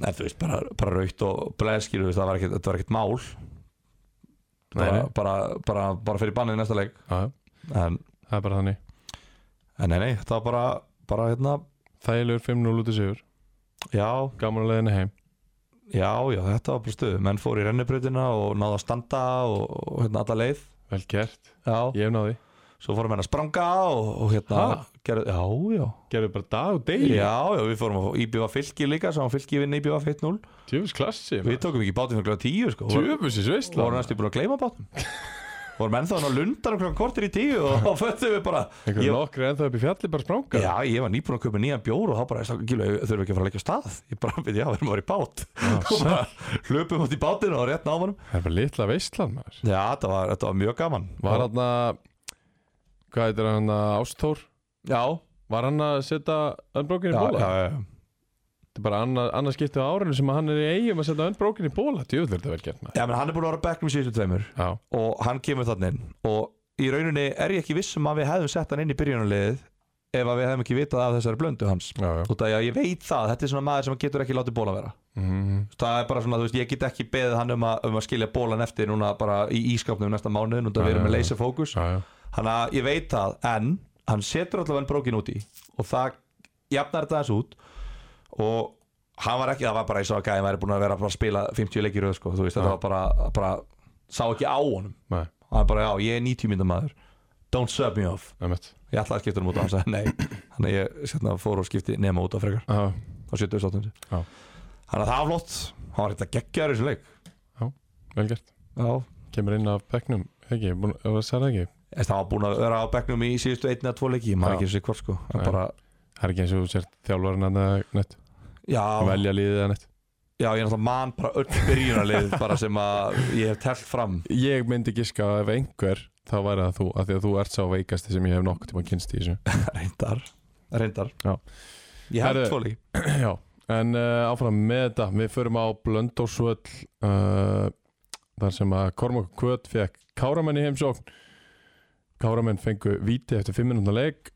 B: en þú veist bara, bara raukt og bleðskirfu það var ekkert- þetta var ekkert mál
A: Nei,
B: bara,
A: nei.
B: bara, bara, bara fyrir bannið í næsta leik
A: já, já.
B: en,
A: það er bara þannig
B: en nei, nei, þetta var bara, bara hérna,
A: Þægilegur 5-0 út í sigur,
B: já,
A: gaman að leiðinni heim
B: já, já, þetta var bara stuð menn fór í rennibrautina og náðu að standa og, og hérna alla leið
A: Vel gert,
B: já,
A: ég hef náði
B: svo fórum henn að spranga og, og hérna
A: Ha?
B: gerð, já, já,
A: Gerðu bara dag og degi,
B: já, já, við fórum að íbjöfa fylki líka, svo hann fylki vinn íbjöfa 1-0
A: tjöfus klassi
B: við tókum ekki bátinn fyrir klokka 10 sko, vorum-
A: Tjöfus í sveisla
B: vorum næstu búin að gleyma bátnum vorum ennþá hann að lunda klokka kortir í 10 og þá föttum við bara
A: Einhver
B: ég-
A: nokkri ennþá upp í fjalli bara spranga
B: Já, ég var nýbúin að köpa nýjan bjór og þá bara, strákar, gílu, þurfum við ekki að fara að leggja af stað ég bara, við, já, við erum að vera í bát og bara hlupum út í bátinu og rétt námanum
A: Það er bara litla veislan maður
B: Já, þetta var, þetta var mjög gaman
A: Var hann að, hvað heitir hann að Ástór
B: Já,
A: Var hann að setja unbroken í
B: já,
A: bóla?
B: já, já, já.
A: Þetta er bara annað, annað skiptið á árinu sem hann er í eigum að setja unbroken í bóla Tjöfus er þetta vel gert maður
B: já, menn hann er búin að vera á bekknum í síðustu tveimur
A: Já,
B: og hann kemur þannig inn og í rauninni er ég ekki viss um að við hefðum sett hann inn í byrjunarliðið ef að við hefðum ekki vitað af þessari blöndu hans
A: já, já
B: út af því að ég veit það, þetta er svona maður sem getur ekki látið bóla vera
A: Mhm.
B: það er bara svona, þú veist, ég get ekki beðið hann um að, um að skilja bólan eftir núna bara í ískapnum næsta mánuðin út af við erum með
A: Já, já, já.
B: leysa fókus
A: Já, já
B: Þannig að ég veit það, en hann setur allavega brókin út í og það jafnar þetta aðeins út og hann var ekki, það var bara eins og að gæði væri búin að vera bara að spila 50 leikir í röð, sko, þú veist, þetta var bara, bara sá ekki á honum,
A: Nei,
B: hann bara já, ég er 90 mynda maður don't sub me off,
A: einmitt
B: ég ætlaði að skipta honum út á hann sagði nei, þannig að ég sérna, fór og skipti nema út á frekar
A: Já,
B: á 78
A: Já.
B: þannig að það var flott, hann var eitthvað geggjaður í þessum leik
A: vel gert
B: já,
A: Kemur inn af bekknum, ekki, búin, ef það sér það ekki
B: Þess, það var búin að vera á bekknum í síðustu einn eða tvo leiki, maður
A: Já.
B: ekki sér hvort sko en
A: Nei.
B: bara,
A: Það er ekki eins og þú sért þjálfarinn að neitt
B: já,
A: Velja liðið að neitt
B: já, ég er náttúrulega man bara öll byrjunarlið bara sem að ég hef telt fram
A: Ég myndi giska að ef einhver þá væri það þú, af því að þú ert sá veikasti sem ég hef nokkuð tíma kynst í þessu
B: reyndar, reyndar
A: Já.
B: ég hef
A: Herðu,
B: tvo leiki
A: Já, en uh, áfram með þetta Við förum á Blöndórsvöll uh, þar sem að Kormak Kvöt fekk Káramenn í heimsókn Káramenn fengu víti eftir 5 minúna leik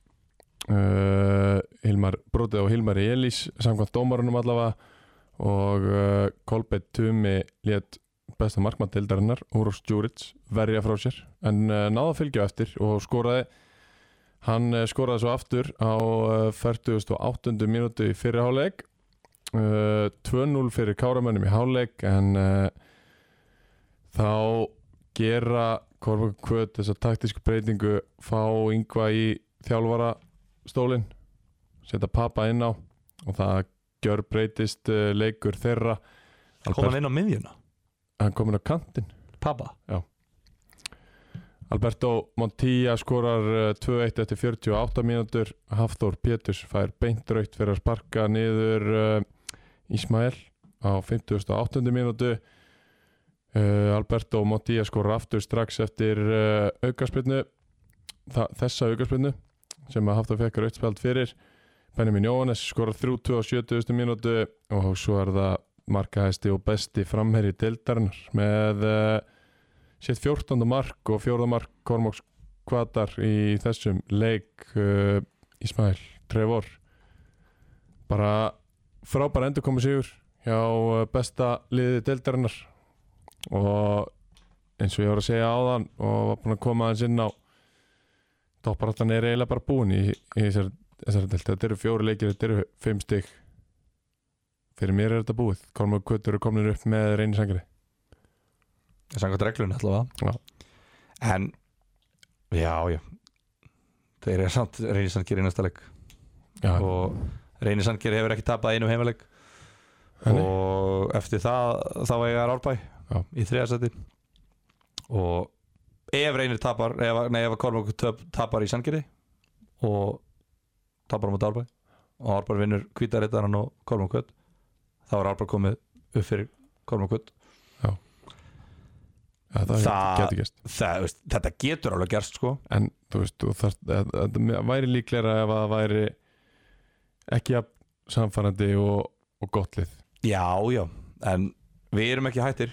A: uh, Hilmar brotið á Hilmar Elís samkvæmt dómarunum allavega og uh, Kolbeitt Tumi lét besta markmann deildarinnar Úrós Djúrits verja frá sér en uh, náða fylgja á eftir og skoraði hann uh, skoraði svo aftur á uh, 48. mínútu í fyrir háleik uh, 2-0 fyrir Káramönnum í háleik en uh, þá gera Korfak Kvöt þessa taktísku breytingu fá yngva í þjálfara stólin setja pappa inn á og það gjör breytist uh, leikur þeirra
B: kom hann inn á miðjuna,
A: hann komin á kantinn
B: pappa
A: Alberto Montilla skorar uh, 2-1 eftir 48 mínútur Hafþór Péturs fær beint raukt fyrir að sparka niður uh, Ismael á 58. mínútu uh, Alberto Montilla skorar aftur strax eftir uh, aukarspilnu Þa, þessa aukarspilnu sem að Hafþór fekk raukt spjald fyrir Benjamin Jóhannes skorar 3-2 á 70. mínútu og svo er það markahæsti og besti framherri deildarinnar með uh, sitt 14. mark og 4. mark Kormáks kvatar í þessum leik uh, Ismail Trevor bara frábæra endur komið sigur hjá uh, besta liði deildarinnar og eins og ég voru að segja áðan og var búinn að koma aðeins inn á topparáttan er eiginlega bara búin í, í þessari, þessari deild þetta eru fjóri leikir, þetta eru fimm stygg fyrir mér er þetta búið Kormák Kvötur eru komin upp með reynisangri
B: ég sangat reglunni allavega
A: Já.
B: en, já, já þeir eru samt reynisangir í næsta leik
A: Já,
B: og reynisangir hefur ekki tapað einu heimaleik
A: Nei.
B: og eftir það þá eiga er árbæ
A: Já.
B: í þriðarsæti og ef reynir tapar ef, nei, ef Kormok tapar í Sandgeri og tapar á móti árbæ og árbæ vinnur kvítaréttaran og Kormok þá er árbæ komið upp fyrir Kormok
A: það, það
B: það-
A: getur gæst
B: það, veist, þetta getur alveg gerst sko
A: en þú veist, þú þarft, það, það, það væri líklega ef að það væri ekki að samfærandi og, og gott lið
B: Já, já, en við erum ekki hættir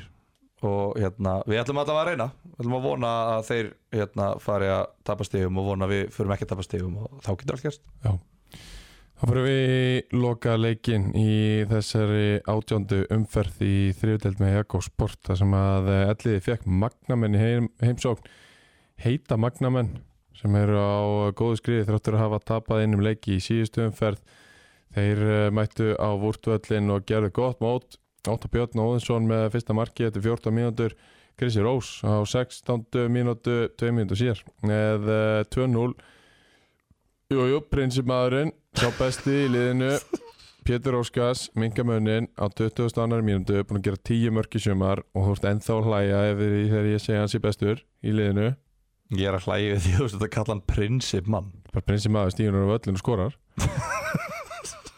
B: og hérna, við ætlum alltaf að reyna við ætlum að vona að þeir hérna, fari að tapa stegum og vona að við förum ekki að tapa stegum og þá getur allt gerst
A: þá fyrir við í loka leikin í þessari átjóndu umferð í þriðuteld með Jakko Sport þar sem að eh, elliði fekk magnamenn í heim, heimsókn heita magnamenn sem eru á góðu skriði þráttur að hafa tapað innum leiki í síðustu umferð þeir eh, mættu á vúrtvöllin og gerðu gott mót Óttar Björn Óðinsson með fyrsta marki eftir 14 mínútur Krissi Rós á 16 mínútu 2 mínútu síðar með eh, 2-0 Jú, jú, prinsimaðurinn sá besti í liðinu Pétur Óskars, mingamönin á 22. mínútu, búin að gera 10 mörk í sumar og þú ert ennþá að hlæja ef við- þegar ég segja hans í bestur í liðinu
B: Ég er að hlægi við því þú veist þetta kalla hann prinsip mann
A: bara prinsip maður stíðunar á völlinu og skorar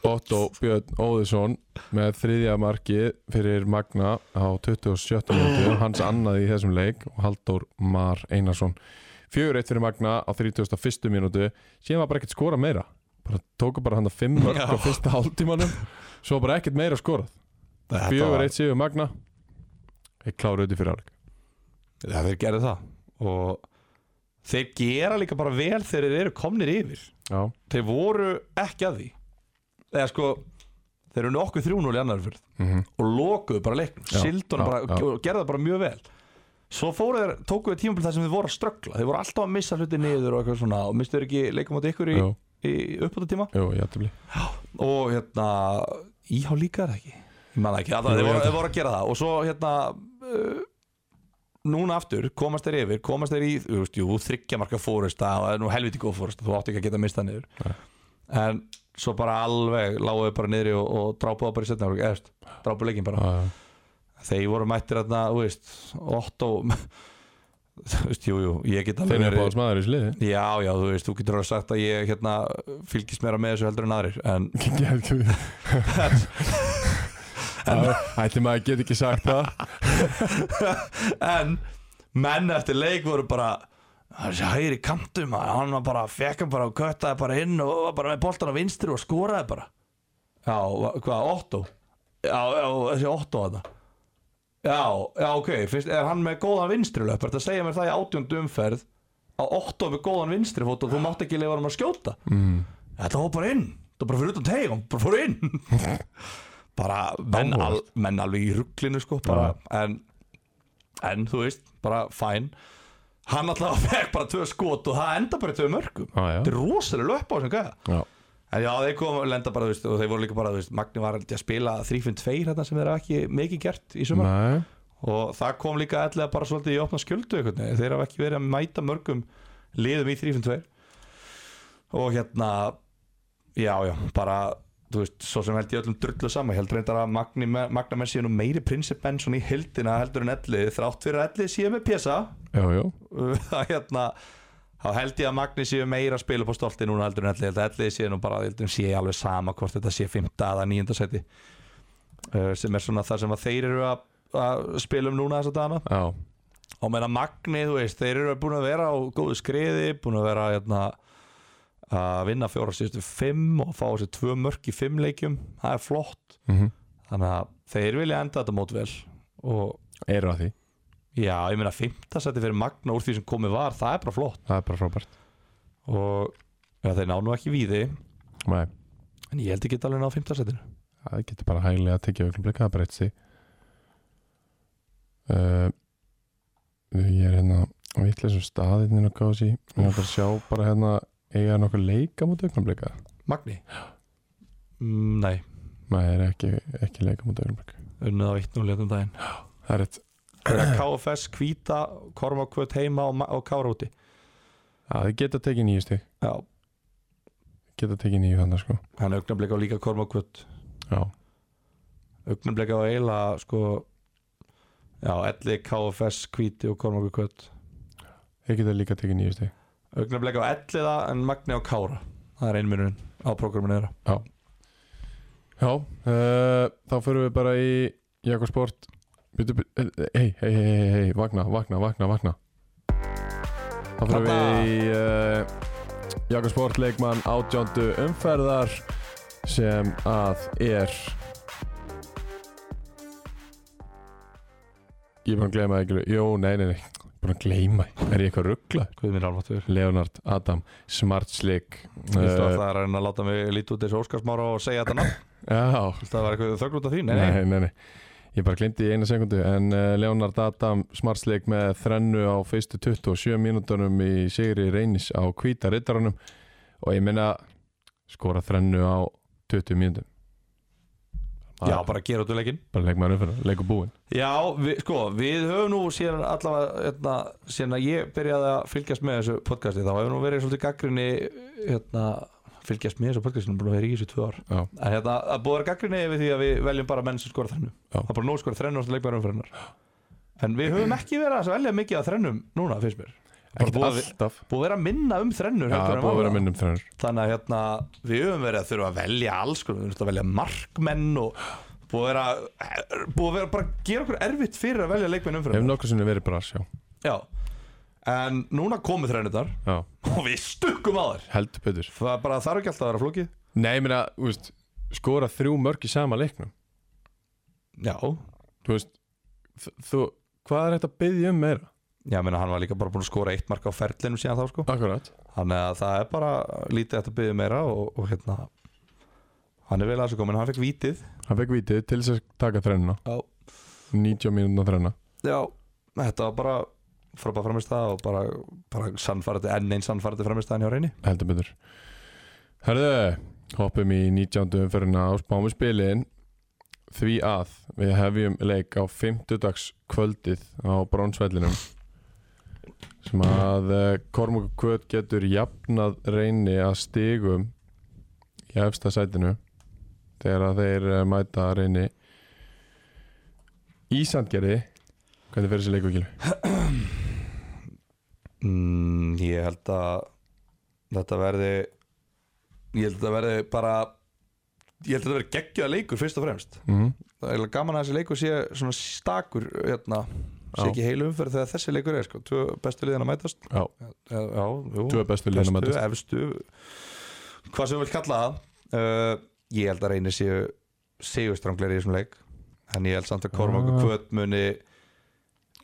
A: Otto Björn Óðisson með þriðja marki fyrir Magna á 27. minútu hans annað í þessum leik og Halldór Mar Einarsson 4-1 fyrir Magna á 31. minútu síðan var bara ekkert skora meira bara tóku bara hann að 5 mörg á
B: Já.
A: fyrsta hálftímanum svo bara ekkert meira skorað 4-1 síður Magna ég kláru þetta fyrir áleik
B: Já, þeir gerðu það og þeir gera líka bara vel þegar þeir eru komnir yfir
A: Já,
B: Þeir voru ekki að því eða sko, þeir eru nokkuð 3-0 í annar fyrir
A: mm
B: og lokuðu bara leiknum
A: Já,
B: sildu
A: já,
B: hana bara
A: já.
B: og gerðu það bara mjög vel svo fóru þeir, tóku þeir tímabil þar sem þeir voru að ströggla þeir voru alltaf að missa hluti niður og eitthvað svona og mistu þeir ekki leikum átt ykkur í,
A: jú,
B: í uppbúta tíma
A: jú, játtumli
B: og hérna Íhá líka er það ekki Ég man það ekki, alltaf,
A: Jú,
B: þeir,
A: ég
B: voru,
A: held að-
B: þeir voru að gera það Og svo hérna uh, Núna aftur, komast þeir yfir Komast þeir í, þú veist, jú, þryggja marka fórusta Og það er nú helviti góð fórusta, þú átt ekki að geta mista niður En svo bara alveg Láguðu bara niðri og, og drápuðu bara í setna Eðst, drápuðu leikin bara
A: Já, já.
B: Þeir voru mættir þarna, þú veist Otto Þú veist, jú, jú, ég get
A: Þeir
B: alveg
A: eru
B: verið-
A: báðs maður í sliði
B: Já, já, þú veist, þú getur alveg sagt að ég hérna, fylgist meira með þessu heldur en aðrir en
A: Ætti maður að geta ekki sagt það
B: en menn eftir leik voru bara "Það er þessi hægri kantum að hann var bara fekk hann bara og köttaði bara inn og var bara með boltan á vinstri og skoraði bara já, hva- hvað, Otto já, já, þessi Otto að já, já, ok, fyrst er hann með góðan vinstri löp, þetta segja mér það í átjónd umferð að Otto með góðan vinstri fót og þú mátt ekki leifa hann að skjóta mm. þetta fór bara inn, þetta bara fyrir utan teig hann bara fór inn bara menn, al,
A: Áhugavert.
B: menn alveg í rugglinu sko bara, en en þú veist, bara fæn hann alltaf fekk bara tvö skot og það enda bara í tvö mörgum
A: Já, já.
B: þetta er rosalega löp á þessum gæða
A: Já,
B: en já, þeir kom og lenda bara, þú veist, og þeir voru líka bara þú veist, Magni var held ég, að spila 3-5-2 hérna sem þeir hafa ekki mikið gert í sumar
A: nei
B: og það kom líka allega bara svolítið í opna skjöldu einhvern veginn. þeir hafa ekki verið að mæta mörgum liðum í 3-5-2 og hérna já, já, bara þú veist, svo sem held ég öllum drullu sama Ég held reyndar að Magni, Magna menn séu nú meiri prinsip enn svona í hildina heldur en ellið þrátt fyrir að ellið séu með pjesa
A: Já, já,
B: það hérna þá held ég að Magni séu meira að spila på stolti núna heldur en ellið, held að ellið séu nú bara heldur en séu alveg sama hvort þetta sé 5. eða 9. seti uh, sem er svona það sem að þeir eru að, að spila um núna þess að dana
A: já
B: og meina Magni, þú veist, þeir eru búin að vera á góðu skriði, búin að vera hérna, að vinna fjóra síðustu fimm og fá þessi tvö mörk í fimm leikjum, það er flott
A: Mhm.
B: þannig að þeir vilja enda þetta mót vel og
A: Eru að því,
B: já, ég meina fimmtasætti fyrir Magna úr því sem komið var, það er bara flott
A: það er bara frábært
B: og já, þeir ná nú ekki víði
A: Nei,
B: en ég held ekki alveg náð fimmtasættinu
A: það getur bara hægilega að tekja augnum blika, það breytt sig uh, Ég er hérna vitleisum staðinni og gási Ég er bara að sjá bara hérna eiga nokkuð leika mútið augnum blika
B: Magni? Mm, nei,
A: Nei, það er ekki, ekki leika mútið augnum blika
B: unnið á 1-0 hérna um daginn
A: Það er rétt,
B: Þegar KFS, Kvíta, Kormakvöt heima og, Ma- og Kárúti
A: Já, þið geta tekið nýju stig
B: já,
A: Geta tekið nýju þannig sko
B: hann augnablik á líka Kormakvöt
A: Já,
B: augnablik á eiginlega sko já, elli, KFS, Kvíti og Kormakvöt
A: þið geta líka tekið nýju stig
B: augnablik á elli það en Magni á Kára það er einmjörun á prógraminu þeirra
A: Já, uh, þá förum við bara í Jakobsport Hei, hei, hei, hei, hei, vakna, vakna, vakna, vakna Þá förum
B: Þarna.
A: við í uh, Jakobsport leikmann átjándu umferðar sem að er Ég er búin að gleyma einhverju Jó, nei, nei, nei, búin að gleyma Er ég eitthvað ruggla?
B: hvað er mér alvartur
A: Leonard, Adam, Smartslik eh,
B: Vistu að það er að reyna að láta mig líti út þessu Óskarsmára og segja þetta nafn
A: Já,
B: Vistu að það var eitthvað þögn út af því? Nei, nei,
A: nei, nei, nei. Ég bara glemdi í eina sekundu en uh, Leonard Adam smartsleik með þrennu á fyrstu 27 mínútonum í Sigri Reynis á Hvíta Riddaranum og ég minna skora þrennu á 20 mínútum
B: já, bara gera út úr leikinn
A: bara leik maður umfyrir, leikur búinn
B: Já, við, sko, við höfum nú síðan allavega, hérna, síðan að ég byrjaði að fylgjast með þessu podcasti þá hefur nú verið svolítið gaggrinni hérna, fylgjast með þessu podcastinu, búin að vera í þessu tvö ár
A: Já.
B: en hérna, að búið að vera gaggrinni yfir því að við veljum bara menn sem skora þrennu
A: Já.
B: það er bara nóg að skora þrennu og það leikmæður umfyririnnar en við höfum ekki verið að velja mikið af þrennum núna, finnst mér Bara
A: Ekkert
B: búið að-
A: alltaf
B: búið að vera að minna um þrennur
A: Já,
B: heldur en
A: búið að
B: var.
A: vera að minna um þrennur
B: þannig að hérna, við höfum verið að þurfa að velja alls konar, við höfum þurft að velja markmenn og búið að vera, búið að vera bara að gera okkur erfitt fyrir að velja leikmenn
A: Ef
B: umfyrir
A: nokkuð sinni verið bara að sjá
B: Já, en núna komu þrænirnar
A: Já,
B: og við stukkum á þær
A: heldur betur
B: Það bara þarf ekki alltaf að vera flókið
A: Nei, ég minna, úst, skora þrjú mörg í sama leiknum
B: Já,
A: Þú veist, þ- þú, hvað er þetta að byggja um meira?
B: já, menna hann var líka bara búin að skora eitt mark á ferlinum síðan þá sko
A: Akkurat
B: Þannig að það er bara lítið eftir að byggja meira og, og hérna Hann er vel aðsökum, en hann fekk vítið
A: Hann fekk vitið til þess að taka þrennuna
B: Já,
A: 90 mínútur þrenna
B: já Þetta var bara frábæð framistæða og bara, bara sannfærandi, enn einn sannfærandi framistæðan hjá reyni
A: heldur betur Herðu, hoppum í 19. umferðina á spámi spilin því að við hefjum leik á 50 dags kvöldið á brónsvellinum sem að Kormúk Kvöt getur jafnað reyni að stigum í efsta sætinu þegar að þeir eh, mæta reyni í Sandgerði hvernig fyrir þessi leikvíkil?
B: Mm, ég held að þetta verði ég held að þetta verði bara ég held að þetta verði geggjöða leikur fyrst og fremst
A: Mm.
B: það er eiginlega gaman að þessi leikur sé svona stakur hérna, sé
A: Já.
B: ekki heil umferð þegar þessi leikur er sko, tvö bestu liðin að mætast
A: Já,
B: já, já, jú,
A: tvö bestu liðin að
B: bestu,
A: mætast
B: efstu hvað sem við vil kalla það uh, ég held að reynir séu segustrangleir í þessum leik en ég held samt að Kormak
A: Ah.
B: og Kvöt muni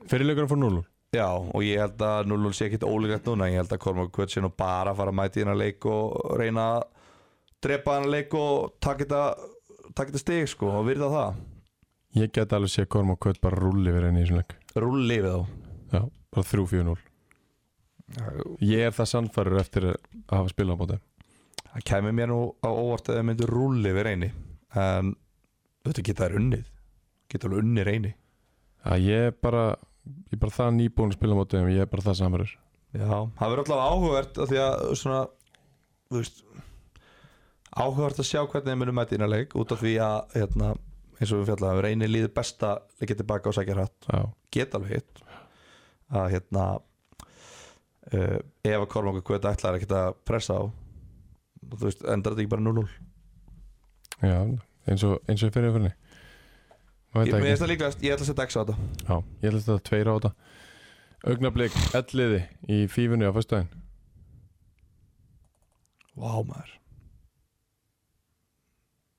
A: Fyrir leikurinn fór 0
B: Já, og ég held að 0-0 sé ekkit ólíklegt núna, ég held að Kormáku Kvötsin og bara að fara að mæta í hennar leik og reyna að drepa hennar leik og taka þetta taka þetta stig sko og virða það
A: Ég get alveg sé Kormúk Kvöt bara rulli við reyni í þessum leik
B: Rúli við
A: Já, bara 3-4-0
B: þá
A: Ég er það sannfærir eftir að hafa spilað á bóti
B: Það kæmi mér nú á óvart að þau myndu rúli við reyni en þetta geta þær unnið geta alveg unnið reyni
A: að ég er bara ég er bara það nýbúin að spila á mótið ég er bara það samverður
B: Já, það verður alltaf áhugavert af því að svona, þú veist áhugavert að sjá hvernig þeir munu mæta í hennar leik út af því að hérna, eins og við fjallaðum, reynir líður besta leikið tilbaka og sækja hratt
A: já,
B: geta alveg hitt að hérna uh, ef að Kormáku Kvöta ætlar ekki að pressa á og þú veist, endar þetta ekki bara 0-0
A: já eins og, eins og fyrir fyrir maður
B: Ég
A: veit
B: mér finnst
A: ekki
B: það líklegast, ég ætla að setja X á þetta
A: já, ég held að þetta tveir á þetta augnablík elliði í fífunni á föstudaginn
B: Vá maður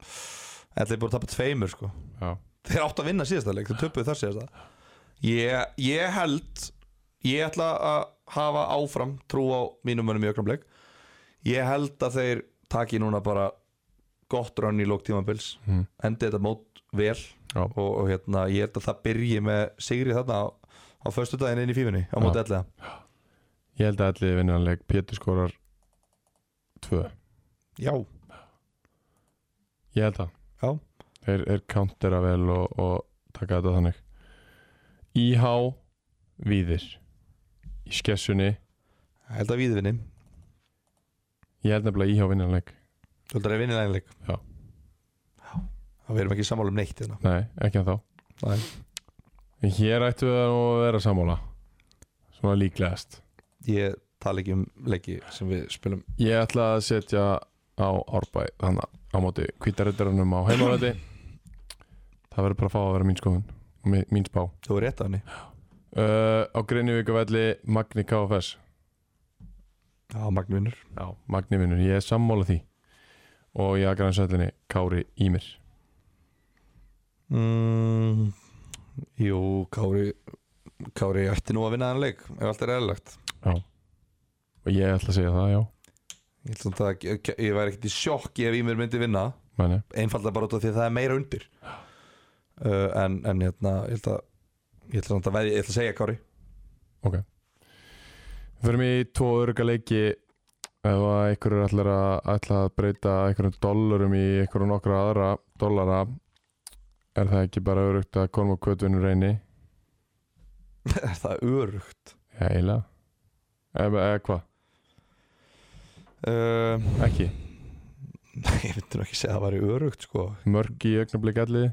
B: Þetta er búin að tapa tveimur sko
A: já,
B: Þeir áttu að vinna síðasta leik, þeir töpuðu þar síðasta ég, ég held Ég ætla að hafa áfram trú á mínum mönnum í ökrum leik Ég held að þeir taki núna bara gott rönn í lók tímabils
A: mm.
B: endi þetta mót vel
A: Já.
B: og, og hérna, ég held að það byrji með Sigri þarna á, á föstu daginn inn í fífinni á móti
A: Já.
B: ellega
A: ég held að elliði vinnanleik Pétur skorar tvö,
B: Já,
A: ég held að
B: Já.
A: þeir er countera vel og, og taka þetta þannig IH Víðir í skessunni,
B: ég held að við vinni
A: ég held nefnilega IH vinnanleik
B: Þú heldur að vinni lænleik
A: Já.
B: Já, það verðum ekki sammála um neitt hérna.
A: nei, ekki að þá
B: Nei.
A: En Hér ættu við að nú að vera sammála Svona líklegast
B: Ég tala ekki um leiki sem við spilum
A: Ég ætla að setja á árbæ Þannig á móti kvítarittarunum á heimavæti Það verður bara að fá að vera mín skoðun og mi- Mín spá
B: Þú er rétt af henni
A: uh, Á Grinnivíku velli Magni KFS
B: Já, Magnvinur
A: Já, Magni vinnur, ég er sammála því Og ég að grænsöllinni Kári Ímir
B: mm, Jú, Kári Kári ætti nú að vinna þann leik ef allt er eðlilegt
A: Og ég ætla að segja það, já
B: Ég, held samt að- ég, ég væri ekkert í sjokki ef ég mér myndi vinna
A: Meni.
B: einfalda bara út af því að það er meira undir uh, en, en hérna ég held að ég ætla samt að veðja, ég ætla að segja Kári
A: Við förum í tvo örga leiki ef að ykkur er allar að, ætla að breyta einhverjum dollurum í einhverjum nokkra aðra dollara er það ekki bara örugt að konum og kvötunum reyni
B: er það örugt
A: Já, eiginlega Eða eða hvað,
B: uh,
A: ekki
B: ég myndi nú ekki segja að það væri örugt sko
A: Mörk í augnablík allir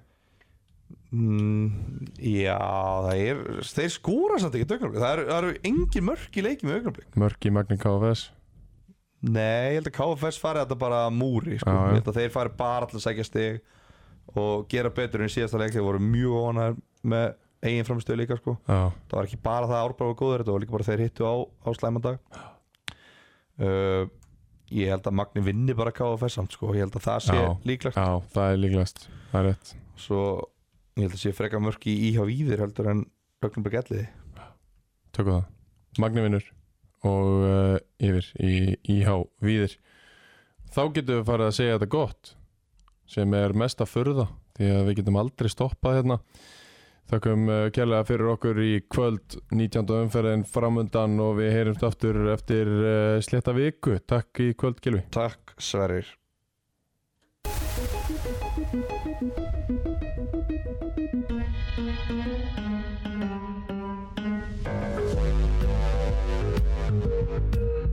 B: mm, já, það er þeir skúra samt ekki dögnarblik það eru, það eru engin mörk í leiki með augnablik
A: Mörk í Magni KFS
B: nei, ég held að KFS fari þetta bara að múri sko.
A: Já, já.
B: ég held að þeir fari bara alltaf að segja stig og gera betur en í síðasta leik þeir voru mjög óanæður með eigin framstöðu líka sko
A: Já,
B: það var ekki bara það að Árbæður var góður þetta var líka bara þeir hittu á, á slæmandag uh, ég held að Magni vinni bara KFS samt sko, ég held að það sé
A: Já.
B: líklegt
A: já, það er líklegast Það er rétt
B: svo ég held að sé freka mörk í íhá víðir heldur en Rögnberg elliði
A: Tökum það Magni vinnur og uh, yfir í IH Víðir þá getum við farið að segja þetta gott sem er mest að furða því að við getum aldrei stoppað hérna þakkum uh, kærlega fyrir okkur í kvöld 19. umferðin framundan og við eh, heyrumst aftur eftir uh, sletta viku takk í kvöld Gilvi
B: takk Sverrir
A: Takk